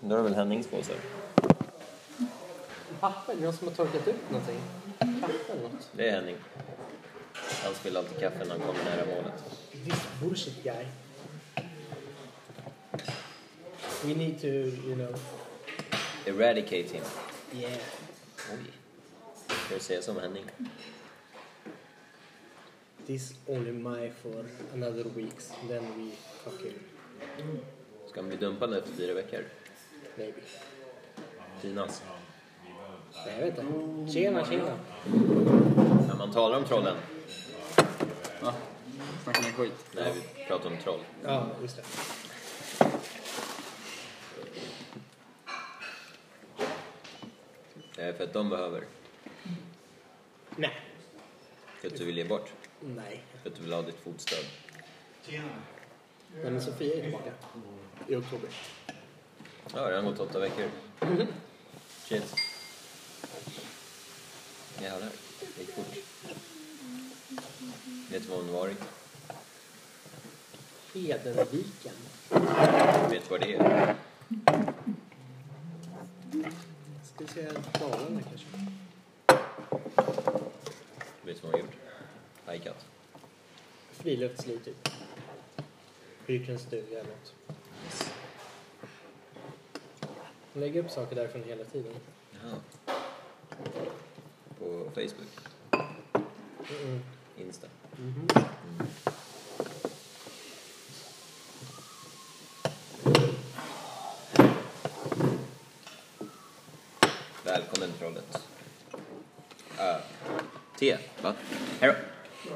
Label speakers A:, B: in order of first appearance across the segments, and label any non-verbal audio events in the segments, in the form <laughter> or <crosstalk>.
A: Då har väl Hennings på sig.
B: Papper? Någon som har torkat upp någonting? Kaffe eller något?
A: Det är Henning. Han spiller alltid kaffe när han kommer nära målet.
C: This bullshit guy. We need to, you know,
A: Eradicate him.
C: yeah.
A: Oj. Ska du säga som Henning?
C: This only my for another weeks. Then we fucking
A: Ska han bli dumpad efter fyra veckor?
C: maybe.
A: Finas.
C: Nej, jag vet inte. Tjena, tjena.
A: När man talar om trollen.
D: Va? Snackar ni skit?
A: Nej, vi pratar om troll.
C: Ja, just det.
A: Eh, För att de behöver.
C: Nej.
A: För att du vill ge bort.
C: Nej.
A: För att du vill ha ditt fotstöd.
C: Men Sofia är tillbaka. I oktober.
A: Ja, det har redan gått åtta veckor. Shit. Jävlar, det gick fort. Vet du var hon varit?
C: Hedenviken.
A: Vet du var det är?
C: Ska vi säga Dalarna kanske?
A: Vet du vad hon gjort? Hajkat.
C: Friluftsliv typ. Hyrt en stuga eller något. Hon lägger upp saker därifrån hela tiden.
A: Jaha. På Facebook?
C: Mm.
A: Insta? Mm. Välkommen trollet. Uh, te, va? Hej då.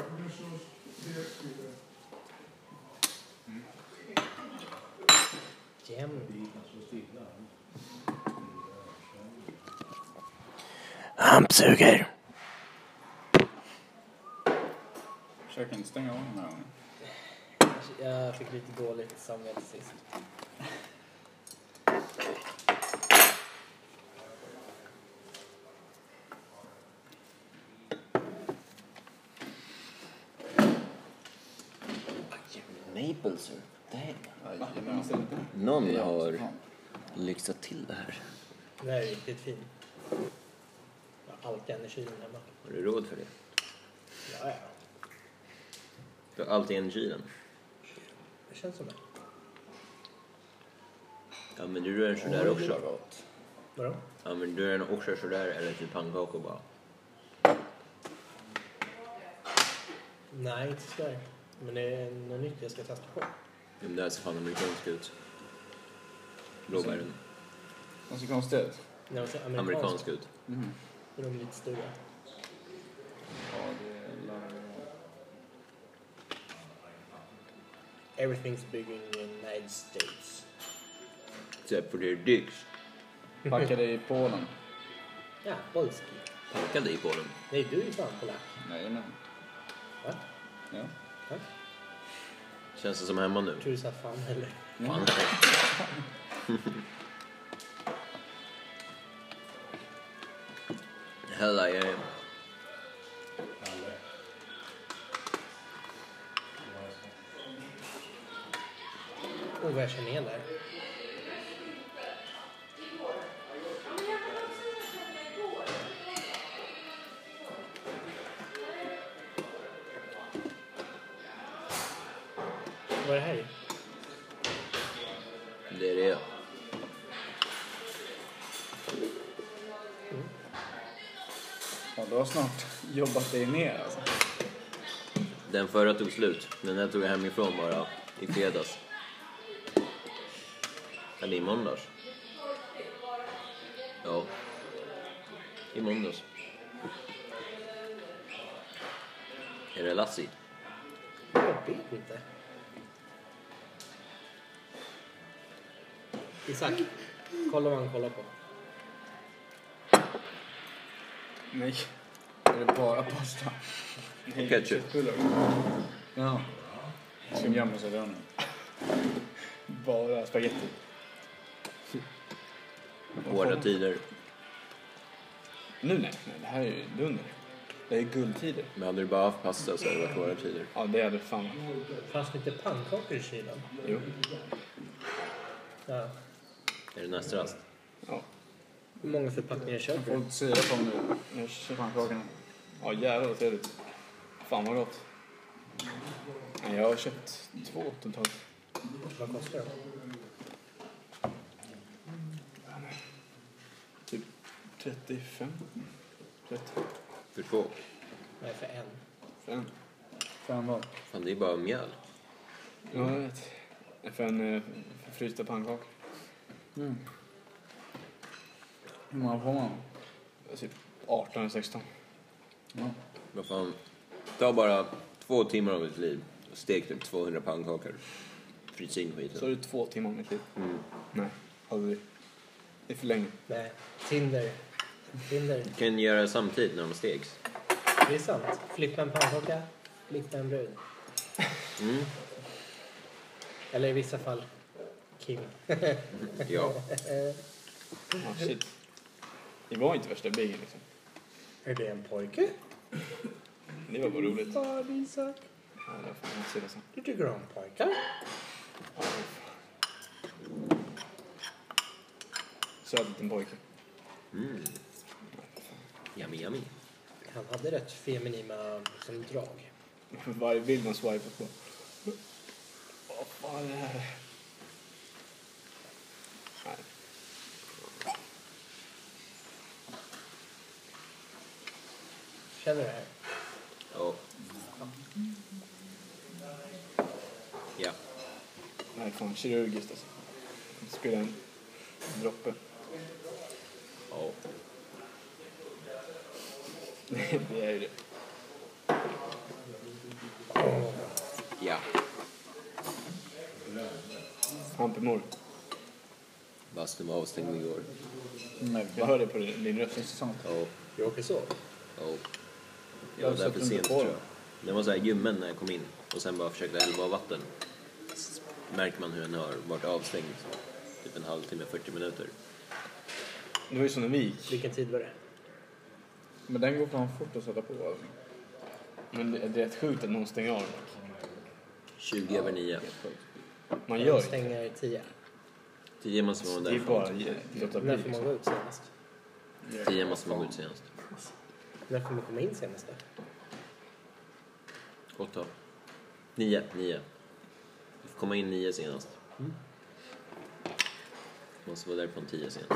C: Jämn.
B: Hampsuger!
D: Försök inte stänga av den här gången.
C: Jag fick lite dåligt samvete sist.
A: Maple syrup, damn.
D: Jajamän.
A: Någon
D: Det är
A: har
D: också fan.
A: lyxat till det här.
C: Den här är riktigt fin. Jag har alltid energin hemma.
A: Har du råd för det?
C: Ja, ja.
A: Du har alltid en kylen.
C: Det känns som det.
A: Använder du den sådär också?
C: Vadå?
A: Använder du den också sådär eller till pannkakor bara?
C: Nej, inte sådär. Men det är något nytt jag ska testa på.
A: Ja, men det här ser fan amerikanskt ut. Blåbären.
D: Den ser konstig ut.
C: När man säger alltså amerikansk
A: Amerikanskt ut.
D: Mm.
C: är de lite stora.
D: Ja, det lär
C: Everything's big in the United States.
A: Except for their dicks.
D: jag. Packade i Polen.
C: <laughs> Ja, polski.
A: Packade i Polen.
C: Nej, du är ju fan polack.
D: Jajamän.
C: Va?
D: Ja.
C: Va?
A: Känns det som hemma nu?
C: Tror du sa fan eller?
A: Fan. Hell I am.
C: Oh, vad jag känner igen där. Vad är det här i?
A: Det är det.
D: ja, du har snart jobbat dig ner alltså.
A: Den förra tog slut. Den här tog jag hemifrån bara i fredags. Eller i måndags. Ja. I måndags. Är det Lassie?
C: Jag vet inte. Isak, kolla vad han kollar på.
D: Nej. Är det bara pasta?
A: Och ketchup.
D: Ja. Som gömmer sig i röven. Bara spagetti.
A: Hårda tider.
D: Nu nej, nej, det här är ju dunder. Det är guldtider.
A: Men hade du bara haft pasta så hade det varit hårda tider.
D: Ja, det hade fan
C: Fanns det inte pannkakor i kylen?
D: Jo.
C: Ja.
A: Är det nästa rast?
D: Ja.
C: Hur många förpackningar köper
D: Får
C: du?
D: inte syra på mig nu. Nu kör fan kakorna. Ja jävlar vad trevligt. Fan vad gott. Nej, jag har köpt två totalt.
C: Vad kostar de?
D: Typ 35. 30.
A: För två?
C: Nej, för en.
D: Fem.
E: Fan vad.
A: Fan, det är bara mjöl.
D: Ja, jag vet. För en eh, för frysta pannkakor.
E: Mm. Hur många får man?
D: Typ 18 eller 16.
E: Ja.
A: Vad fan. Ta bara två timmar av ditt liv och stek typ 200 pannkakor. Frys in
D: Så
A: skiten.
D: är det två timmar av mitt liv.
A: Mm.
D: Nej, aldrig. Det är för länge.
C: Nej, Tinder. Tinder.
A: Du kan göra samtidigt när de steks.
C: Det är sant. Flippa en pannkaka, flippa en brud.
A: Mm.
C: Eller i vissa fall, Eh, Kim.
A: Ja.
D: Ja, shit. Det var inte värsta bigen liksom.
C: Är det en pojke?
D: Det var bara roligt.
C: Ja, Isak.
D: Ja, det var fan sida sen.
C: Du tycker om pojkar?
D: Söt liten pojke. <laughs>
A: Mm. Yummy, yummy.
C: Han hade rätt feminina liksom, drag.
D: Varje bild man swipar på. Vad fan är det här? Nej.
C: Känner du det här?
A: Ja. Ja.
D: Nej, fan kirurgiskt alltså. Spela en droppe. <laughs>
A: Ja.
D: det är ju det.
A: Ja.
D: Hampemor.
A: Bastun var avstängd igår.
E: Nej,
D: Jag hör det på din din röst.
E: sånt.
A: Ja.
C: Jag åker så.
A: Ja. Jag var där för
E: Varför satte du
A: sent
E: inte på
A: tror jag. Den var så här ljummen när jag kom in och sen bara försökte hälla av vatten. S- Märker man hur den har varit avstängd typ en halvtimme, 40 minuter.
D: Det var ju som när vi gick.
C: Vilken tid var det?
E: Men den går fan fort att sätta på. alltså.
D: Men det, det är rätt sjukt att någon stänger av.
A: 20 över 9.
E: Helt sjukt.
D: Man gör ju inte.
C: Stänger i tio.
A: 10 måste man
D: Det
A: vara
D: är bara
A: därifrån.
D: att låta bli.
C: När får man
D: liksom.
C: gå ut senast?
A: 10 måste man gå ut senast.
C: När får man komma in senast då?
A: 8. 9. 9. Du får komma in 9 senast. Måste vara därifrån 10 senast.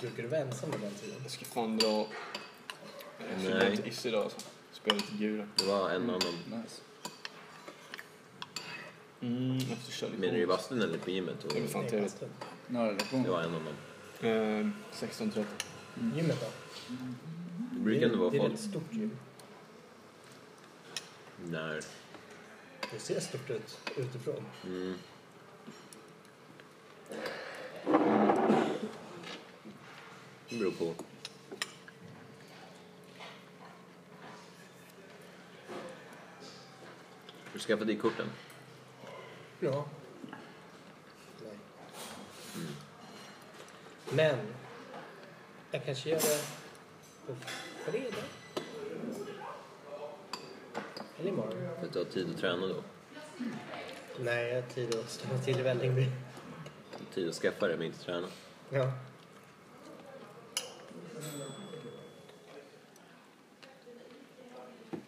C: Brukar du vara ensam på den tiden?
D: Jag ska fan dra... Jag ska
A: Nej.
D: dra till Isse idag alltså. Spela lite gula.
A: Det var en annan.
E: Nice.
D: Mm, jag måste köra lite
A: Menar du i bastun eller på gymmet? Och
D: Det är fan
C: Nej,
D: trevligt.
C: bastun.
E: Nu har jag lektion.
A: det var en annan.
D: Eh, 16.30.
C: Gymmet då?
A: Det brukar ändå vara
C: Det är
A: folk.
C: ett stort gym.
A: När...
C: Det ser stort ut utifrån.
A: Mm. Det beror på. Har du skaffat dig korten?
C: Ja. Nej. Men jag kanske gör det på fredag. Eller imorgon.
A: För att du har tid att träna då.
C: Nej, jag har tid att stanna till i Vällingby.
A: Du har tid att skaffa det men inte träna.
C: Ja.
A: Är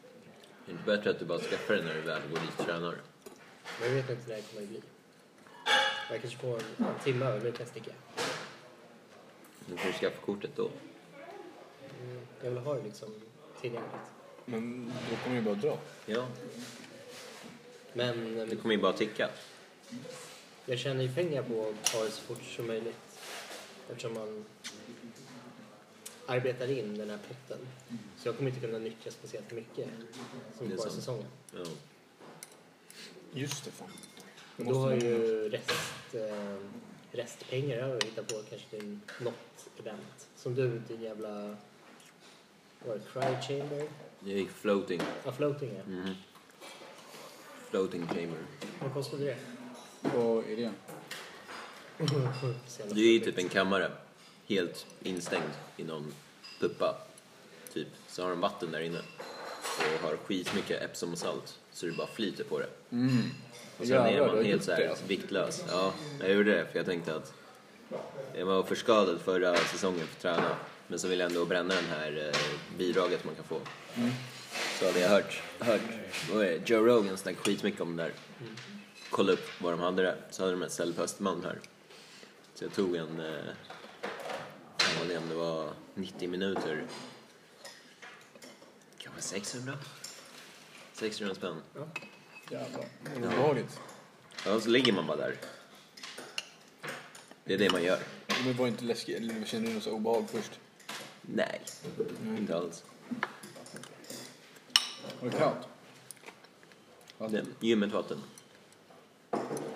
A: det inte bättre att du bara skaffar det när du väl går dit och tränar?
C: Men jag vet inte när det kommer att bli. Jag kanske får en, en timme över, nu kan jag sticka.
A: Nu får du skaffa kortet då.
C: Mm, Jag vill ha det liksom tillgängligt.
D: Men då kommer jag bara dra.
A: Ja,
C: Men
A: det
C: eh,
A: kommer ju bara ticka.
C: jag tjänar ju pengar på att ta det så fort som möjligt. Eftersom man arbetar in den här potten. Så jag kommer inte kunna nyttja speciellt mycket
A: Det
C: som
A: är
C: bara
A: sant.
C: säsongen.
A: Ja.
D: Just det, fan.
C: Men då
D: Måste
C: har
D: man-
C: jag ju rest, eh, restpengar över att hitta på kanske till något event. Som du, din jävla... Vad det? Cry Chamber?
A: Jag gick floating.
C: Ja, floating ja.
A: Mhm. Floating chamber.
C: Vad kostade det?
E: På idén.
C: Senast
A: Du är ju typ en kammare, helt instängd i någon puppa, typ. Så har de vatten där inne och har skitmycket Epsom och salt, så det bara flyter på det.
E: Mm.
A: Och sen
E: Jävlar,
A: är
E: du har
A: man helt
E: gjort
A: så här
E: det, alltså.
A: viktlös. Ja, jag gjorde det för jag tänkte att jag var förskadad förra säsongen för att träna. Men så ville jag ändå bränna den här eh, bidraget man kan få.
E: Mm.
A: Så hade jag hört, hört vad är det, Joe Rogan snackade skitmycket om det där. Kolla upp vad de hade där. Så hade de ett ställe på Östermalm här. Så jag tog en, eh, jag vet inte om det var 90 minuter. Kanske 600? 600 spänn.
E: Jävlar. Olagligt.
A: Ja, så ligger man bara där. Det är det man gör.
D: Men var inte läskigt, eller kände du något så obehag först?
A: Nej, inte alls.
E: Var det kallt?
A: Det, gymmet vatten.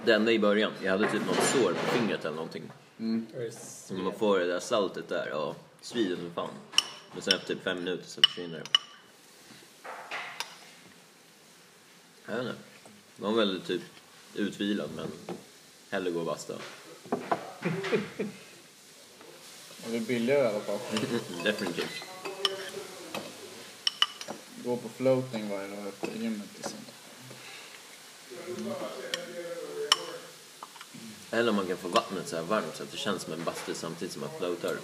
A: Det enda i början, jag hade typ något sår på fingret eller någonting.
C: Eller
A: Så när man
C: sved.
A: får det där saltet där, ja, svider som fan. Men sen efter typ fem minuter så försvinner det. Jag vet inte. Man var väldigt typ utvilad men hellre gå och basta.
E: Och det är billigare i alla fall.
A: Definitivt.
E: Gå på floating varje dag efter gymmet. Liksom.
A: Eller om man kan få vattnet så här varmt så att det känns som en bastu samtidigt som man floatar.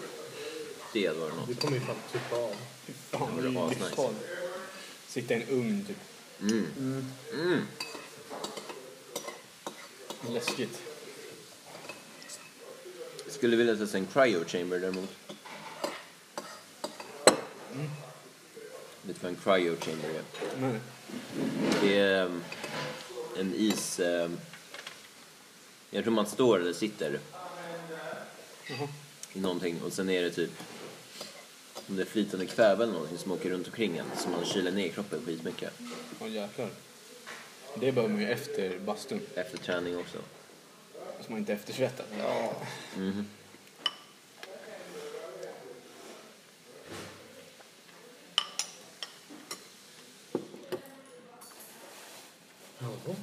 A: Det hade varit något.
C: Du kommer ju fan tuppa av.
D: Fan,
A: det var asnice.
D: Sitta i en ugn typ.
A: Mm.
D: Läskigt.
A: Skulle vilja testa en cryo chamber däremot. Vet du vad en cryo chamber är?
D: Nej.
A: Det är ehm, en is... ehm, Jag tror man står eller sitter i någonting och sen är det typ om det är flytande kväve eller någonting som åker runt omkring en så man kyler ner kroppen skitmycket
D: Åh jäklar. Det behöver man ju efter bastun.
A: efter träning också.
D: Så man inte är eftersvettad. Ja.
C: Jaha.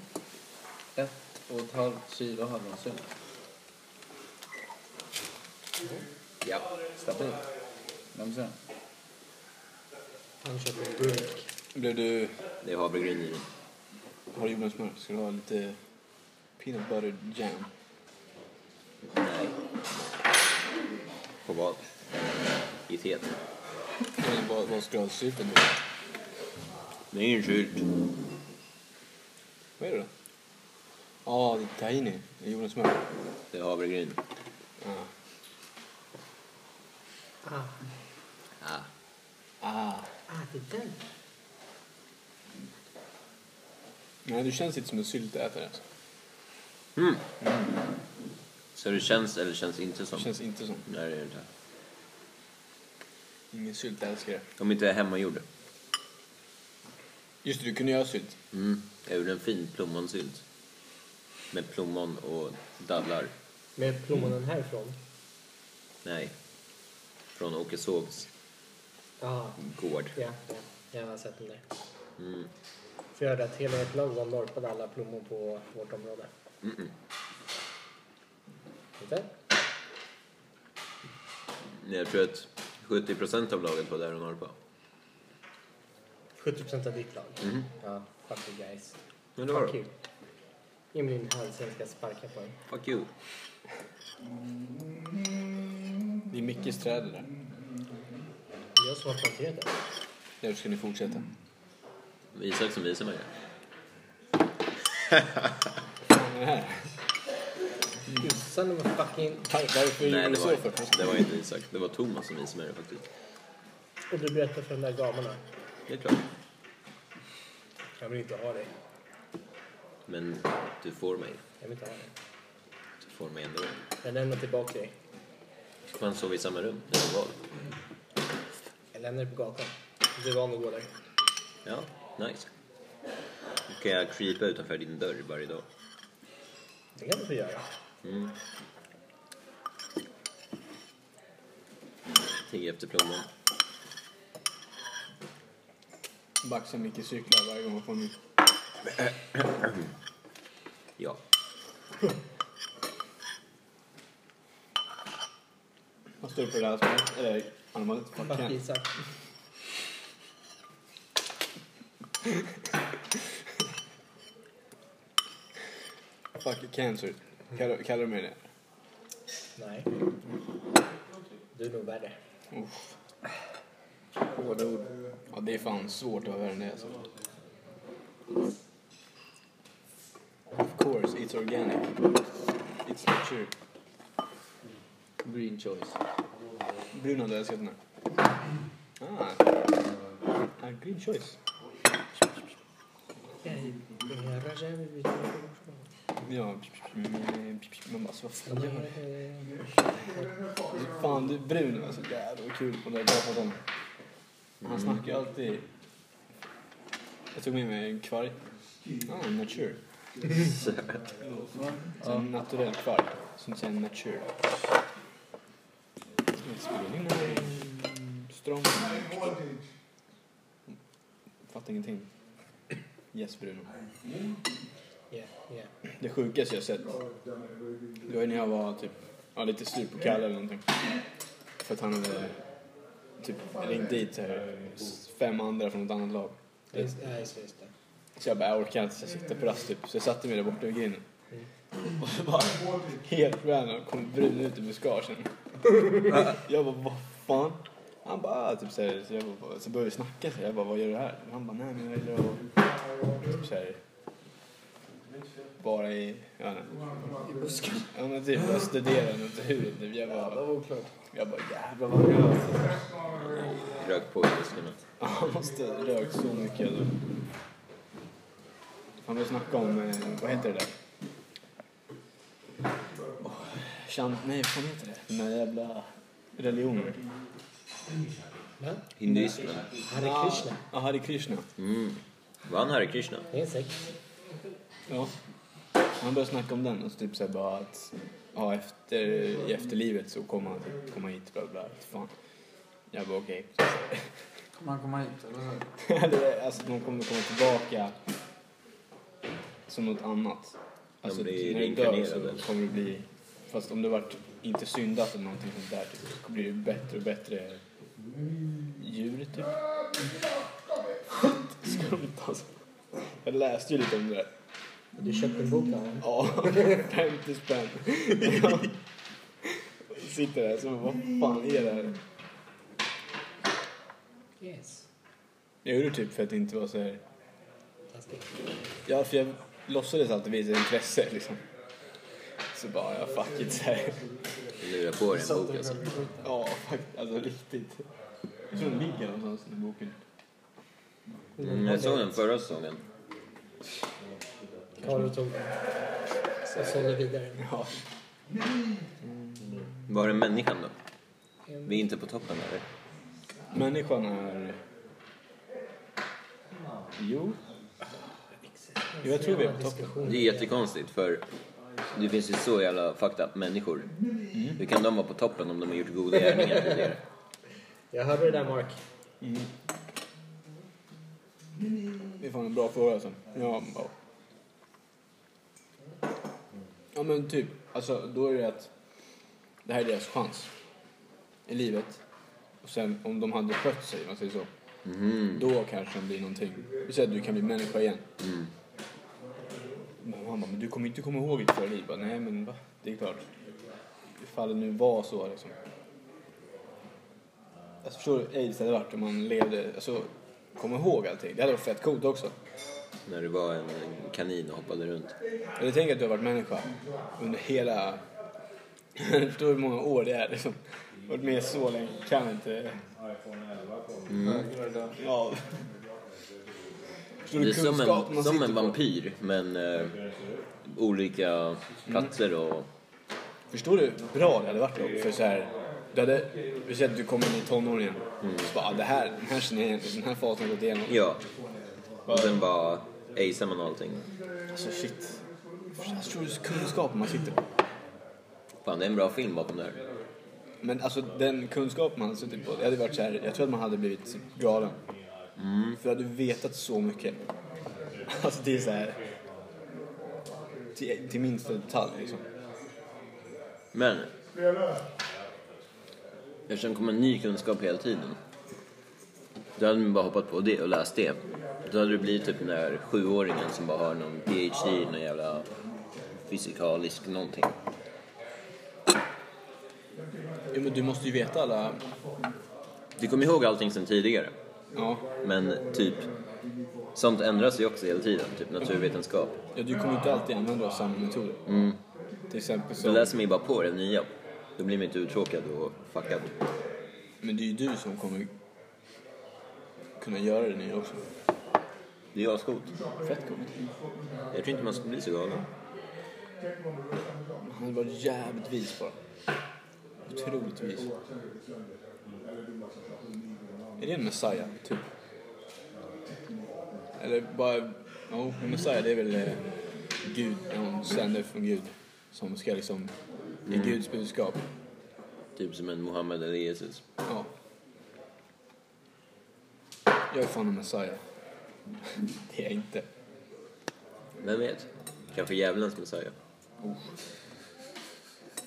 E: Ett och ett halvt kilo hallonsylt.
A: Ja,
E: Stabilt. Vem ser?
C: Han köper en burk.
D: Blev du...
A: det är havregryn i den.
D: Har du jordnötssmör? Ska du ha lite peanut butter jam?
A: Nej. På vad? I teet.
D: Eller vad, vad ska du ha sylten till?
A: Det är ju en sylt.
D: Vad är det då? Ja, det är tahini. Det är Jordnötssmör.
A: Det är havregryn.
D: Ja.
C: Ah,
A: Ah.
D: Ah.
C: ah, det är den.
D: Nej, du känns inte som en syltätare. Alltså.
A: Mm. Så det känns eller känns inte
D: Du
A: som?
D: känns inte som.
A: Nej, det är det inte.
D: Ingen syltälskare.
A: Om inte jag hemmagjorde.
D: Just det, du kunde göra sylt.
A: Mm. Jag gjorde en fin plommonsylt. Med plommon och dadlar.
C: Med plommonen härifrån.
A: Nej. Från Åke Sågs
C: Ah,
A: gård.
C: ja, ja. Jag har sett den där.
A: Mm.
C: För jag hörde att hela ett lag var norpade alla plommon på vårt område.
A: Mm-mm.
C: Inte?
A: Jag tror att 70% av laget var där och norpa.
C: 70% av ditt lag.
A: Mhm.
C: Ja, fuck you guys.
A: Men det var
C: Fuck
A: det.
C: you. Ge mig din hand så jag ska sparka på den.
A: Fuck you.
D: Det är Mickes träd det där.
C: Det är jag som har planterat den.
D: Där ska ni fortsätta.
A: Isak som visar mig det.
D: Vad är det här?
C: Jossan var fucking...
D: Varför gjorde
A: Nej,
D: du
A: det var,
D: så för?
A: inte- det var inte Isak. Det var Thomas som visade mig det faktiskt.
C: Och du berättar för de där gamarna.
A: Det är klart.
C: Jag vill inte ha dig.
A: Men du får mig.
C: Jag vill inte ha dig.
A: Du får mig ändå.
C: Jag lämnar tillbaka dig.
A: Man sov i samma rum. Det var val.
C: Jag lämnar dig på gatan. Du är van att gå där.
A: Ja, nice. Då kan jag creepa utanför din dörr varje dag.
C: Det kan du få göra.
A: Tigga efter plommon.
D: Baxar Micke cyklar varje gång han får en ny.
A: Ja.
D: Vad står det på det där spelet? Eller, han har
C: Fuck
D: fucking...
C: Isak.
D: Fuck cancer. Kallar, kallar du mig det?
C: Nej. Du är nog värre.
D: Uff.
E: Hårda ord.
D: Ja, det är fan svårt att vara värre än det alltså. Of course, it's organic. It's nature.
E: Green choice.
D: Brun hade älskat den här. Ah. ah, green choice. Ja, mm, man bara så vad fan gör du? Fan, du Bruno var så jävla kul på det där gatan. Han snackar ju alltid... Jag tog med mig en kvarg. Ah, nature. Så <laughs> En naturell kvarg. Som säger nature. Spelning Strong. Fattar ingenting. Yes Bruno.
C: Yeah, yeah.
D: Det sjukaste jag sett. Det var ju när jag var typ, ja, lite sur på Kalle eller någonting. För att han hade typ ringt dit så här, s- fem andra från ett annat lag.
C: Ja, Just, ja, just, det, just det.
D: Så jag bara, jag orkar inte så jag sitter på rast typ. Så jag satte mig där borta vid grinden. Och så bara, helt random kom brun ut i buskagen. Jag bara, vad fan? Han bara, ah, typ så, här, så jag bara, så började vi snacka så jag bara, vad gör du här? Han bara, nej men jag gillar att, typ så här, bara i, jag vet inte.
C: I busken.
D: Ja men typ, jag studerar naturen typ. Jag
C: Ja, det
D: bara,
C: var oklart.
D: jag bara, jävlar vad gött.
A: Rök på i buskarna.
D: Ja, Han måste ha rökt så mycket. Alltså. Han vill snacka om, eh, vad heter det där? Åh, Chan, nej vad fan heter det? Den där jävla religionen.
C: Va?
A: Hinduismen.
C: Hare Krishna.
D: Ja, Hare Krishna.
A: Mm. Vann Hare Krishna?
C: Det är en sekt.
D: Ja. Han började snacka om den och så typ såhär bara att ja, efter, i efterlivet så kommer han typ komma hit bla bla, bla. Fan. Jag bara okej.
E: Kommer han komma hit? Eller hur?
D: Eller alltså de kommer komma tillbaka som något annat. Alltså
A: blir
D: när du dör
A: reinkarnerade.
D: så kommer du bli, fast om du varit inte syndat eller någonting sånt där typ, så blir du bättre och bättre djur typ. Skumt alltså. Jag läste ju lite om det där.
C: Du köpte en bok av honom.
D: Ja, <laughs> 50 spänn. Sitter där som vad fan är det här?
C: Yes.
D: Jag gjorde det typ för att inte vara så här
C: Taskigt.
D: Ja, för jag låtsades alltid visa intresse liksom. Så bara, ja fuck it. så här.
A: Lura på dig en bok alltså.
D: Ja, fuck, alltså riktigt. Jag tror den ligger någonstans i boken.
A: Mm, jag såg den förra säsongen.
C: Karl tog den. Och sålde vidare.
D: Ja.
A: Var är människan då? Vi är inte på toppen eller?
D: Människan är... Jo. Jo, jag tror vi är på toppen.
A: Det är jättekonstigt för det finns ju så jävla fucked up människor.
D: Mm.
A: Hur kan de vara på toppen om de har gjort goda gärningar tidigare?
C: Jag hörde det där Mark.
D: Det är fan en bra fråga alltså. Ja, ja. ja men typ, alltså då är det att det här är deras chans i livet. Och sen om de hade skött sig, om man säger så. Då kanske de blir någonting. Vi säger att du kan bli människa igen. Men han bara, men du kommer inte komma ihåg ditt förra liv. Jag Bara, Nej men va, det är klart. Ifall det nu var så liksom. Alltså förstår du hur aids hade varit om man levde, alltså kom ihåg allting. Det hade varit fett coolt också.
A: När du var en en kanin och hoppade runt.
D: Eller tänk att du har varit människa under hela... <laughs> Förstår du hur många år det är liksom. Varit med så länge, kan inte... Ja. Förstår
A: Det
D: du
A: är som
D: kunskapen
A: en,
D: man
A: som
D: sitter
A: en
D: på?
A: vampyr men eh, olika platser och...
D: Förstår du hur bra det hade varit då? För så här, du hade, vi säger att du kommer in i tonåren mm. så bara, ah, det här, den här känner jag igen, den här fasen har jag gått igenom.
A: Ja.
D: Mm.
A: Och sen bara acear man allting.
D: Alltså shit. Förstår du kunskapen man sitter på?
A: Fan det är en bra film bakom det här.
D: Men alltså den kunskap man hade suttit på, det hade varit så här, jag tror att man hade blivit typ galen. För att du vetat så mycket. Alltså det är så här. Till, till minsta detalj liksom.
A: Men... Eftersom det kommer ny kunskap hela tiden. Då hade man bara hoppat på det och läst det. Då hade du blivit typ den där sjuåringen som bara har någon PhD i någon jävla fysikalisk någonting.
D: Jo, men du måste ju veta alla...
A: Du kommer ihåg allting sen tidigare.
D: Ja.
A: Men typ, sånt ändras ju också hela tiden. Typ naturvetenskap.
D: ja du kommer inte alltid använda samma metoder. Till exempel
A: Då
D: så...
A: läser man ju bara på det nya. Då blir man inte uttråkad och fuckad.
D: Men det är ju du som kommer kunna göra det nya också.
A: Det är ascoolt.
D: Fett coolt.
A: Jag tror inte man skulle bli så galen.
D: Han var jävligt vis bara. Otroligt vis. Är det en Messiah, typ? Eller bara... Ja, en Messiah det är väl eh, Gud, någon sändare från Gud. Som ska liksom... Det är Guds budskap.
A: Typ som en Mohammed eller Jesus.
D: Ja. Jag är fan en Messiah. <laughs> det är jag inte.
A: Vem vet? Kanske djävulens Messiah.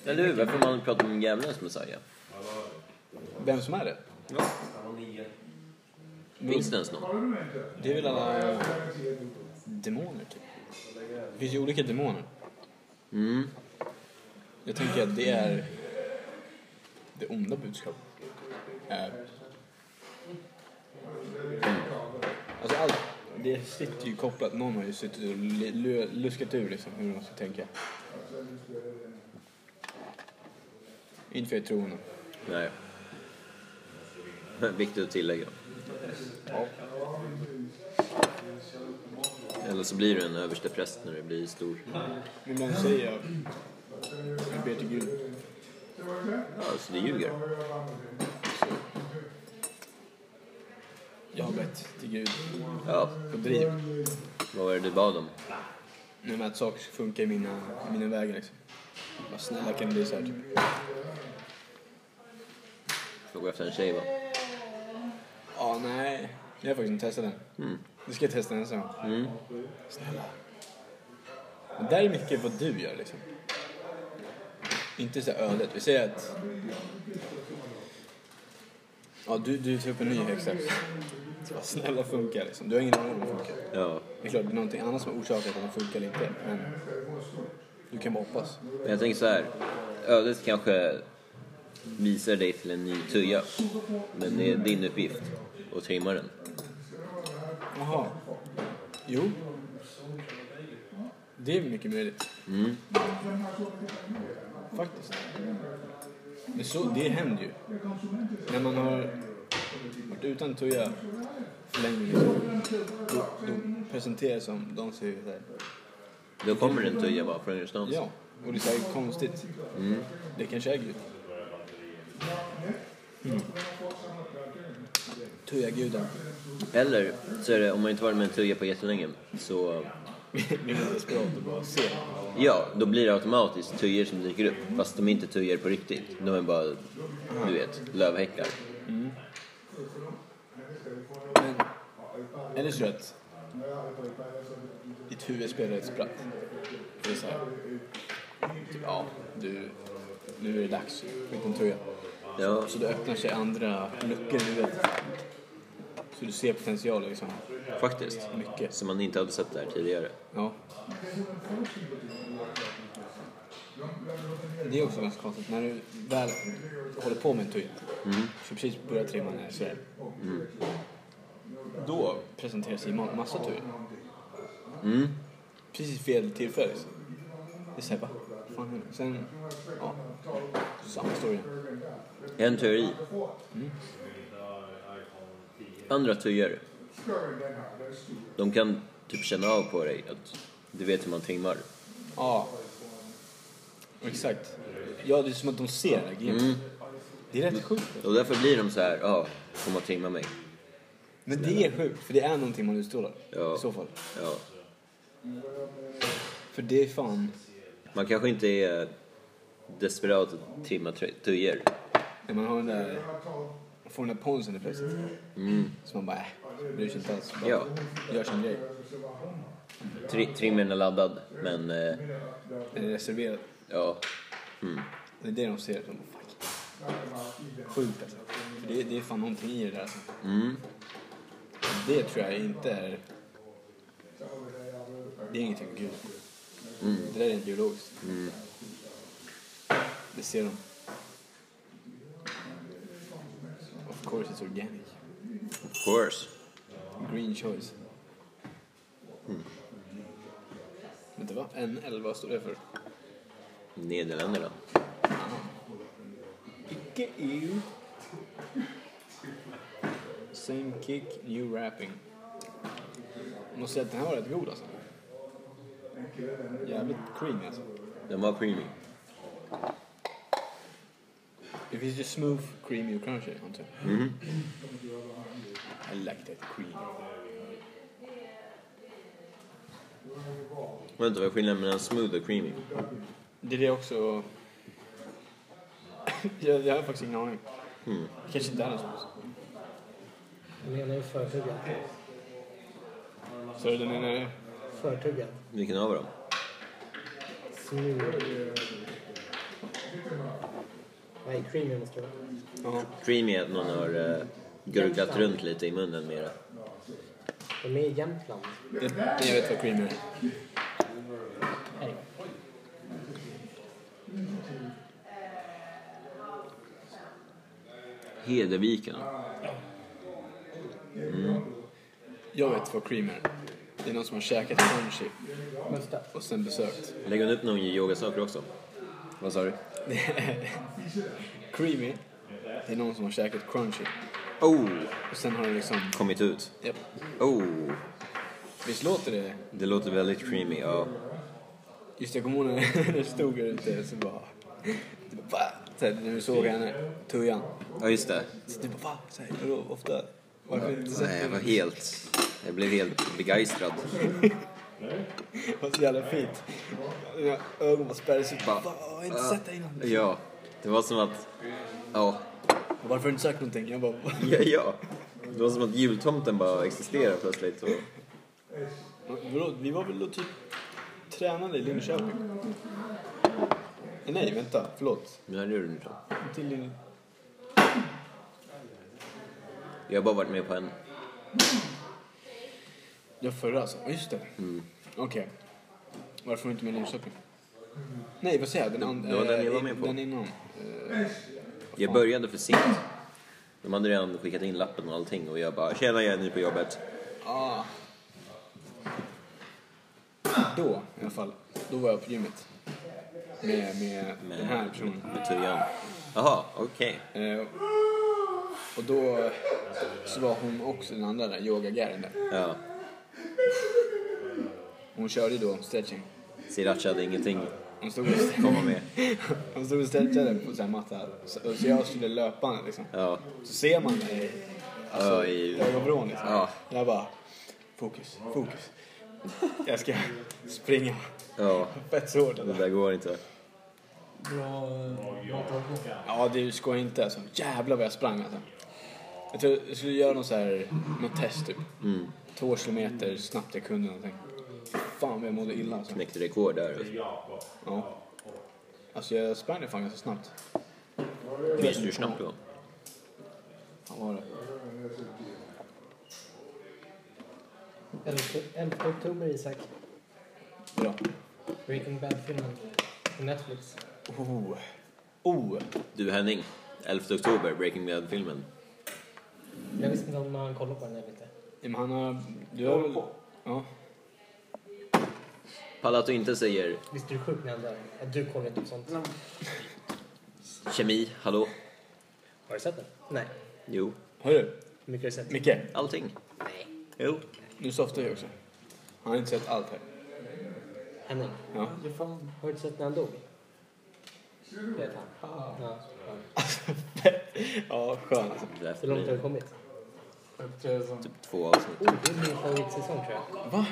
A: Eller hur? Varför man pratar om djävulens Messiah?
D: Vem som är det?
A: Finns det ens någon?
D: Det är väl alla demoner typ. Det finns ju olika demoner.
A: Mm.
D: Jag tänker att det är det onda budskapet. Eh, Alltså allt, det sitter ju kopplat. Någon har ju suttit och li- lu- luskat ur liksom hur de ska tänka. Inte för jag tror honom.
A: Nej. Viktigt att tillägga. Eller så blir du en överstepräst när du blir stor.
D: Men ibland säger jag, jag ber till Gud.
A: Ja, så du ljuger.
D: Jag har bett till Gud
A: Ja,
D: på driv.
A: vad var det du bad om?
D: Nej men att saker ska funka i mina, i mina vägar liksom. Bara snälla kan det bli så här typ.
A: Ska gå efter en tjej va?
D: Ja, nej. Jag har faktiskt inte testat den.
A: Mm.
D: Nu ska jag testa den sen.
A: Mm.
D: Snälla. Men där är mycket vad du gör liksom. Inte så här ödet. Vi säger att... Ja, du, du tar upp en ny häxa. Så bara, Snälla funka liksom. Du har ingen aning om den funkar.
A: Ja,
D: Det är klart, det är någonting annat som har orsakat att den funkar eller inte. Men du kan bara hoppas.
A: men jag tänker så här. Ödet kanske visar dig till en ny tuja. Men det är din uppgift att trimma den.
D: Jaha. Jo. Det är mycket möjligt.
A: Mm.
D: Faktiskt. Men så, det händer ju. När man har varit utan tuja för länge liksom, då, då presenteras som, de ser ju såhär,
A: Då kommer det en tuja bara från ingenstans.
D: ja, och det är såhär konstigt. Det kanske är Gud. Mm. Tujaguden.
A: Eller så är det, om man inte varit med en tuja på jättelänge, så
D: Blir man desperat och bara ser.
A: ja, då blir det automatiskt tujor som dyker upp. Fast de är inte tujor på riktigt. De är bara, du vet, lövhäckar.
D: Men, eller så tror jag att ditt huvud spelar ett spratt. Det är så här, typ, ja, du, nu är det dags. Vilken tröja.
A: Ja,
D: Så då öppnar sig andra luckor i huvudet. Så du ser potential liksom.
A: faktiskt.
D: Mycket.
A: Som man inte hade sett där tidigare.
D: Ja. Det är också ganska konstigt. När du väl håller på med en tuja, så precis börjar trimma när jag ser Då presenteras ju ma- massa tujor.
A: Mm.
D: Precis fel tillfälle. liksom. Det är såhär, va? Fan händer? Sen, ja. Samma story.
A: En teori. Andra tujor. De kan typ känna av på dig att du vet hur man trimmar.
D: Ja. Exakt. Ja, det är som att de ser den här grejen. Det är rätt sjukt.
A: Och därför blir de så här, ja, kommer att trimma mig.
D: Men det är sjukt, för det är någonting man utstrålar.
A: Ja.
D: I så fall.
A: Ja.
D: För det är fan...
A: Man kanske inte är desperat att trimma tru- tujor.
D: När man har den där... Man får den där ponsen helt plötsligt. Så man bara, äh, bryr sig inte alls. Bara
A: Mm. Ja.
D: Gör sin grej.
A: Tri- trimmen är laddad, men eh,
D: Den är reserverad.
A: ja,
D: Det är det de ser. De bara, fuck. Sjukt alltså. För det, det är fan någonting i det där alltså.
A: Mm.
D: Det tror jag inte är... Det är ingenting gud. Det där är inte biologiskt. Det ser de. Of course it's organic.
A: Of course.
D: Green choice. Vänta va? En elva står det för.
A: Nederländerna.
D: Icke EU. Same kick, new rapping. Måste säga att den här var rätt god alltså. Jävligt creamy alltså.
A: Den var creamy.
D: Det finns ju smooth, creamy och crunchy antar jag. I like that cream.
A: Vänta, vad är skillnaden mellan smooth och creamy?
D: Det är det också... <laughs> jag, jag har faktiskt ingen aning. Kanske inte är någonstans.
C: Jag menar ju förtuggad.
D: Så den är...
C: Förtuggad.
A: Vilken av dem?
C: Smooth. Nej, creamy måste det vara.
D: Ja.
A: Creamy är att någon har eh, gurglat runt lite i munnen mera.
C: De är i Jämtland.
D: Jag, jag vet vad cream är.
C: Nej.
A: Hedeviken.
D: Jag vet vad cream är. Det är någon som har käkat crunchy
C: Musta.
D: och sen besökt.
A: Lägger hon upp någon yogasaker också? Vad sa du?
D: Creamy, det är någon som har käkat crunchy.
A: Oh!
D: Och sen har det liksom...
A: Kommit ut.
D: Japp.
A: Oh!
D: Visst låter det?
A: Det låter väldigt creamy, ja.
D: Just det, jag kommer ihåg när jag stod här ute så bara... Det bara va? Så här, när du såg henne, tujan.
A: Ja, just det.
D: Så det bara va? Så här, vadå, ofta? Varför inte sett
A: Nej, jag var helt... Jag blev helt begeistrad.
D: Det var så jävla fint. Mina ögon bara spärrades upp. Bara,
A: Bara,
D: "Fan, jag har inte
A: ah,
D: sett dig innan.
A: Ja, det var som att... Ja. <laughs>
D: Varför har du inte sagt någonting? Jag bara...
A: Ja, ja. Det var som att jultomten bara existerade plötsligt. Och...
D: Vadå, vi var väl då typ tränade i Linköping? Eh, Nej, vänta. Förlåt.
A: Nej, det gjorde du inte.
D: Till Lin...
A: Jag har bara varit med på en.
D: Ja, förra alltså. Ja, Just det.
A: Mm.
D: Okej. Varför var du inte med i Linköping? Nej, vad säger jag? Den, an-
A: Det var
D: eh,
A: den jag var med
D: in-
A: på.
D: Den innan. Eh,
A: Jag började för sent. De hade redan skickat in lappen och allting och jag bara “Tjena, jag är ny på jobbet”.
D: ah. Då, i alla fall. Då var jag på gymmet. Med, med,
A: Med-
D: den här personen.
A: Med tujan. Jaha, okej.
D: Eh, och då så var hon också den andra där, yogagären där.
A: Ja.
D: Hon körde då stretching.
A: Sriracha hade ingenting
D: Hon stod och,
A: att komma med.
D: hon stod och stretchade på en matta. här. Så, så jag skulle löpa liksom.
A: Ja.
D: Så ser man det i- alltså,
A: Ja, i-
D: i ögonvrån liksom.
A: Ja.
D: Jag bara, fokus, fokus. Jag ska springa.
A: Ja,
D: Fett så hårt. alltså.
A: det där går inte.
D: Ja, du skojar inte alltså. Jävlar vad jag sprang alltså. Jag tror jag skulle göra någon så här, något test typ. Två kilometer snabbt jag kunde någonting. Fan vad jag mådde illa alltså.
A: Knäckte rekord där.
D: Ja. Alltså jag sprang det fan ganska snabbt.
A: Visste du snabbt då?
D: Vad var det?
C: 11 oktober, Isak.
D: Bra.
C: Breaking Bad-filmen. På Netflix.
D: Oh. Oh.
A: Du Henning, 11 oktober, Breaking Bad-filmen.
C: Jag visste inte om man kollar på den eller inte.
D: Ja, Men han har... Du har väl... Ja.
A: Palla att du inte säger
C: Visst är du sjuk när han dör? Att du kollar inte på sånt.
A: kemi, hallå?
C: Har du sett den? Nej.
A: Jo.
D: Hörru.
C: Hur mycket har du sett?
D: Micke.
A: Allting. Jo.
D: Nu softar jag också. Han har inte sett allt här.
C: Henning.
D: Ja.
C: Har du inte sett när han dog? Det vet han. Ja. ja.
D: Ja, skönt. alltså.
A: Det där
C: Så långt har
A: blir
C: vi kommit.
A: typ två avsnitt.
C: Oh, det är min favoritsäsong tror jag.
D: Va?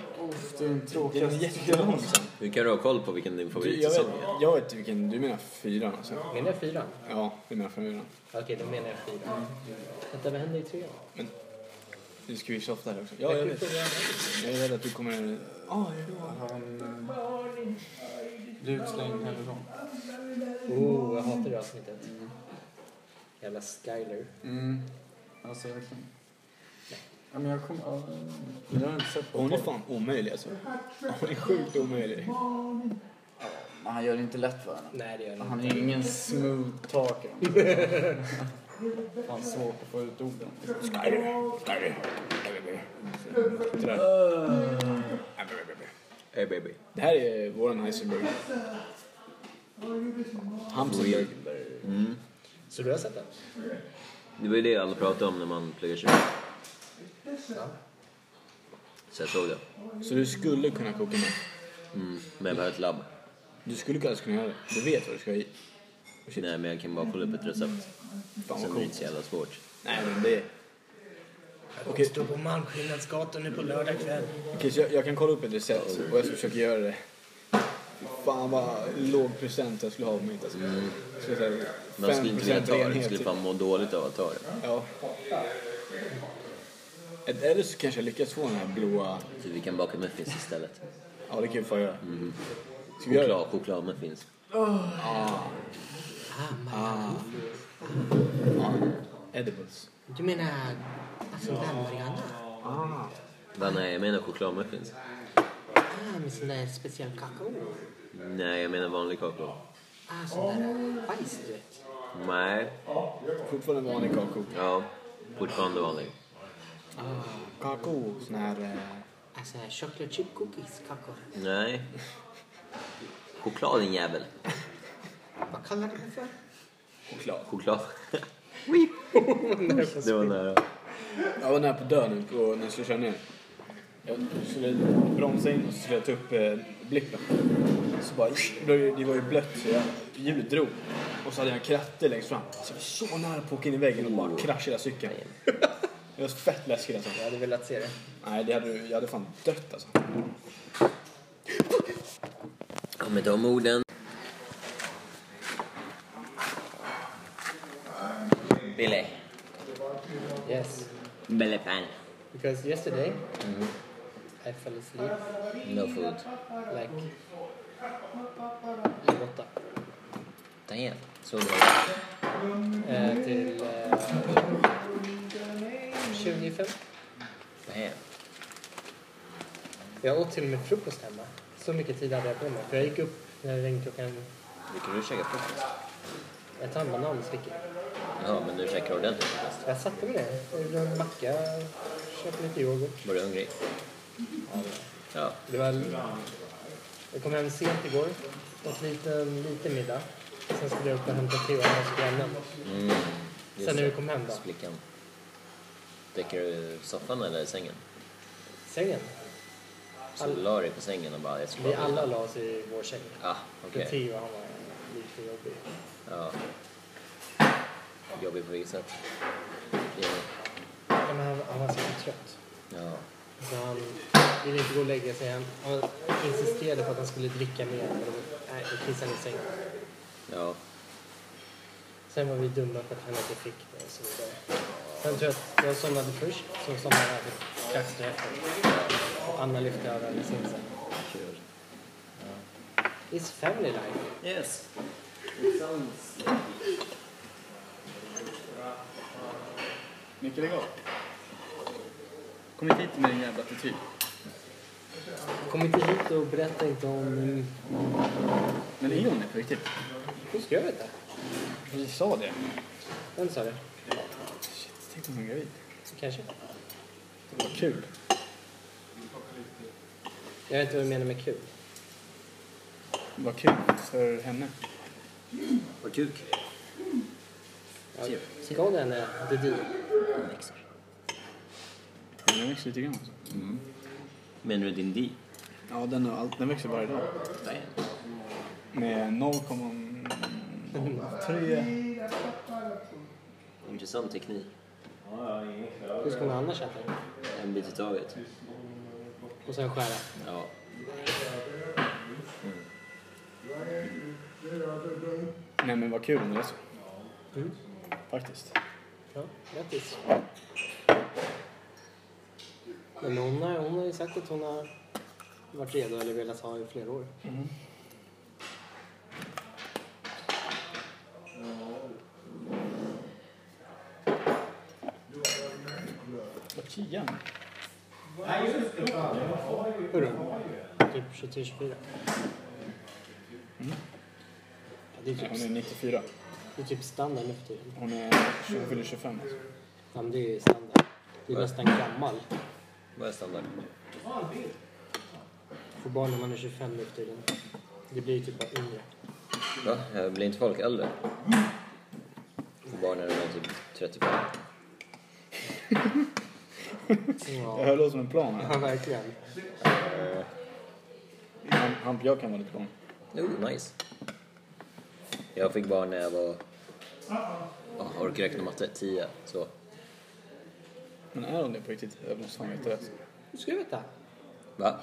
E: Det är en tråkig...
D: Det är jättelång sen.
A: Hur kan du ha koll på vilken din
D: Du, jag, vet,
A: favoritsäsong är?
D: jag vet vilken... Du menar fyran alltså?
C: Menar jag fyran?
D: Ja, du menar fyran.
C: Okej, då menar jag fyran. Vänta, vad händer i trean?
D: Nu ska vi softa här också. Ja, jag vet. Jag är rädd att du kommer... Ja, ja.
E: Han... Blir utslängd hemifrån.
C: Oh, jag hatar det avsnittet. Jävla Skyler.
E: Mm. Alltså verkligen. Ja, men jag kommer... Ja, jag har inte sett på
D: Hon är fan omöjlig alltså. Hon är sjukt omöjlig.
E: Men han gör det inte lätt för henne.
C: Nej, det gör han
E: Han är ingen smooth talker. Alltså. fan svårt att få ut orden.
D: Sådär.
A: Hey baby.
D: Det här är våran Heisenberg. Hamsenberg.
A: Mm.
C: Så du har sett den?
A: Det var ju det alla pratade om när man pluggar kemi. Så jag såg det.
D: Så du skulle kunna koka med.
A: Mm. Men jag behöver ett labb.
D: Du skulle kanske kunna göra det. Du vet vad du ska ha i. Shit.
A: Nej, men jag kan bara kolla upp ett recept.
D: Fan
A: Sen
D: vad
A: är det inte
D: coolt.
A: så jävla svårt.
D: Nej men det...
C: Okej. Står på Malmskillnadsgatan nu på lördag kväll.
D: Okej, så jag, jag kan kolla upp ett recept och jag ska försöka göra det. Fy Fan vad låg procent jag skulle ha på mitt alltså. Jag Skulle säga
A: Mm. Man skulle inte vilja
D: 5%
A: ta det. Man
D: renhet.
A: skulle
D: typ.
A: fan må dåligt av att ta det.
D: Ja. Ett- Eller så kanske jag lyckas få den här blåa...
A: Så Typ, vi kan baka muffins istället.
D: Ja, det kan vi fan göra. Ska vi göra det?
A: Mm. Choklad, chokladmuffins.
C: Ah,
D: Ja. Edibles.
C: Du menar alltså den Mariana?
A: Va, nej, jag menar chokladmuffins.
C: Ah, med sån där speciell kakao.
A: Nej, jag menar vanlig kakao.
C: Ah, sån där bajs du vet.
A: Nej.
D: Fortfarande vanlig kakao.
A: Ja, fortfarande vanlig.
D: Kakao, sån här... eh,
C: Ah, sån här chocolate chip cookies kakao.
A: Nej. Choklad din jävel.
C: Vad kallar du det för?
D: Choklad.
A: Choklad. det var nära.
D: Jag var nära på att dö nu på, när jag skulle köra ner. Jag skulle bromsa in och så skulle jag ta upp eh, blippen. Så bara, det var ju blött så jag hjulet drog. Och så hade jag en kratte längst fram. Så jag var så nära på att åka in i väggen och bara krascha hela
E: <laughs>
D: cykeln. Det var fett läskigt alltså.
C: Jag hade velat se det.
D: Nej, det hade, du- jag hade fan dött alltså.
A: Kom inte om orden. Billy.
C: Yes.
A: Billy Pan.
C: Because yesterday I fell asleep
A: No food.
C: like halv åtta.
A: Damn. Såg du det?
C: Eh, till eh, 25.
A: Damn.
C: Jag åt till och med frukost hemma. Så mycket tid hade jag på mig. För jag gick upp när det ringde klockan
A: Brukar du käka frukost?
C: Jag tar en banan och sticker.
A: Ja, men du käkar ordentligt frukost.
C: Jag satte mig ner. Jag gjorde en macka, köpte lite yoghurt.
A: Var du hungrig? Ja.
C: Det var... Jag kom hem sent igår. Åt lite, lite middag. Sen skulle jag upp och hämta Theo hemma hos grannen.
A: Mm. Just
C: Sen när vi
A: det.
C: kom hem då.
A: Flickan. Däckar du soffan eller sängen?
C: Sängen.
A: Så
C: All-
A: du la dig på sängen och bara, jag ska
C: Vi
A: bara vila.
C: alla la oss i vår säng.
A: Ah,
C: För
A: okej.
C: Theo han var lite jobbig.
A: Ja. Jobbig på vilket sätt? Ja.
C: Ja, Men han, han var så trött.
A: ja.
C: Så han ville inte gå och lägga sig. Han, han insisterade på att han skulle dricka mer. Men då- Nej, då kissade han i sängen.
A: Ja.
C: Sen var vi dumma för att han inte fick det och så vidare. Sen tror jag att jag somnade först, så somnade jag typ strax därefter. Och Anna lyfte över henne sin säng.
A: Kul.
C: It's family life.
A: Yes.
E: Micke, lägg av. Kom inte hit med din jävla attityd.
C: Kom inte hit och berätta inte om...
E: Men är hon det på riktigt?
C: Hur ska jag veta?
D: Vi sa det.
C: Vem sa det?
D: Shit, tänk om hon är gravid.
C: Kanske.
D: Vad kul.
C: Jag vet inte vad du menar med kul.
D: Vad kul för henne.
A: Var kuk?
E: Typ.
D: Typ.
C: Jag gav henne the deal.
D: Den växer lite grann alltså.
A: Menar du din di?
D: Ja, den, har allt, den växer varje dag.
A: Nej.
D: Med 0,03.
A: Intressant teknik.
C: Hur ska man annars äta det?
A: En bit i taget.
C: Och sen skära.
A: Ja.
D: Nej men vad kul om det är så.
C: Mm.
D: Faktiskt.
C: Ja, grattis. Men hon har, hon har ju sagt att hon har varit redo eller velat ha i flera år.
D: Vad Kian?
B: Hur ung? Typ 23-24. Ja, det, är
D: Nej,
B: typ,
D: hon är 94.
B: det är typ standard nu för tiden.
D: Hon är hon fyller 25. alltså.
B: Ja, men det är standard. Det är
A: Ja.
B: nästan gammal.
A: Vad är standard?
B: Får barn när man är 25 nu för tiden. Det blir ju typ bara yngre.
A: Va? Eh, Blir inte folk äldre? Får barn när de är typ 35.
D: Jag
B: Ja,
D: höll oss som en plan här.
B: ja verkligen.
D: Han, han, jag kan vara lite plan.
A: Jo, nice. Jag fick barn när jag var... Oh, orkar räkna matte? 10. Så.
D: Men är hon det på riktigt? Jag måste fan veta det. alltså.
B: Du ska veta.
A: Va?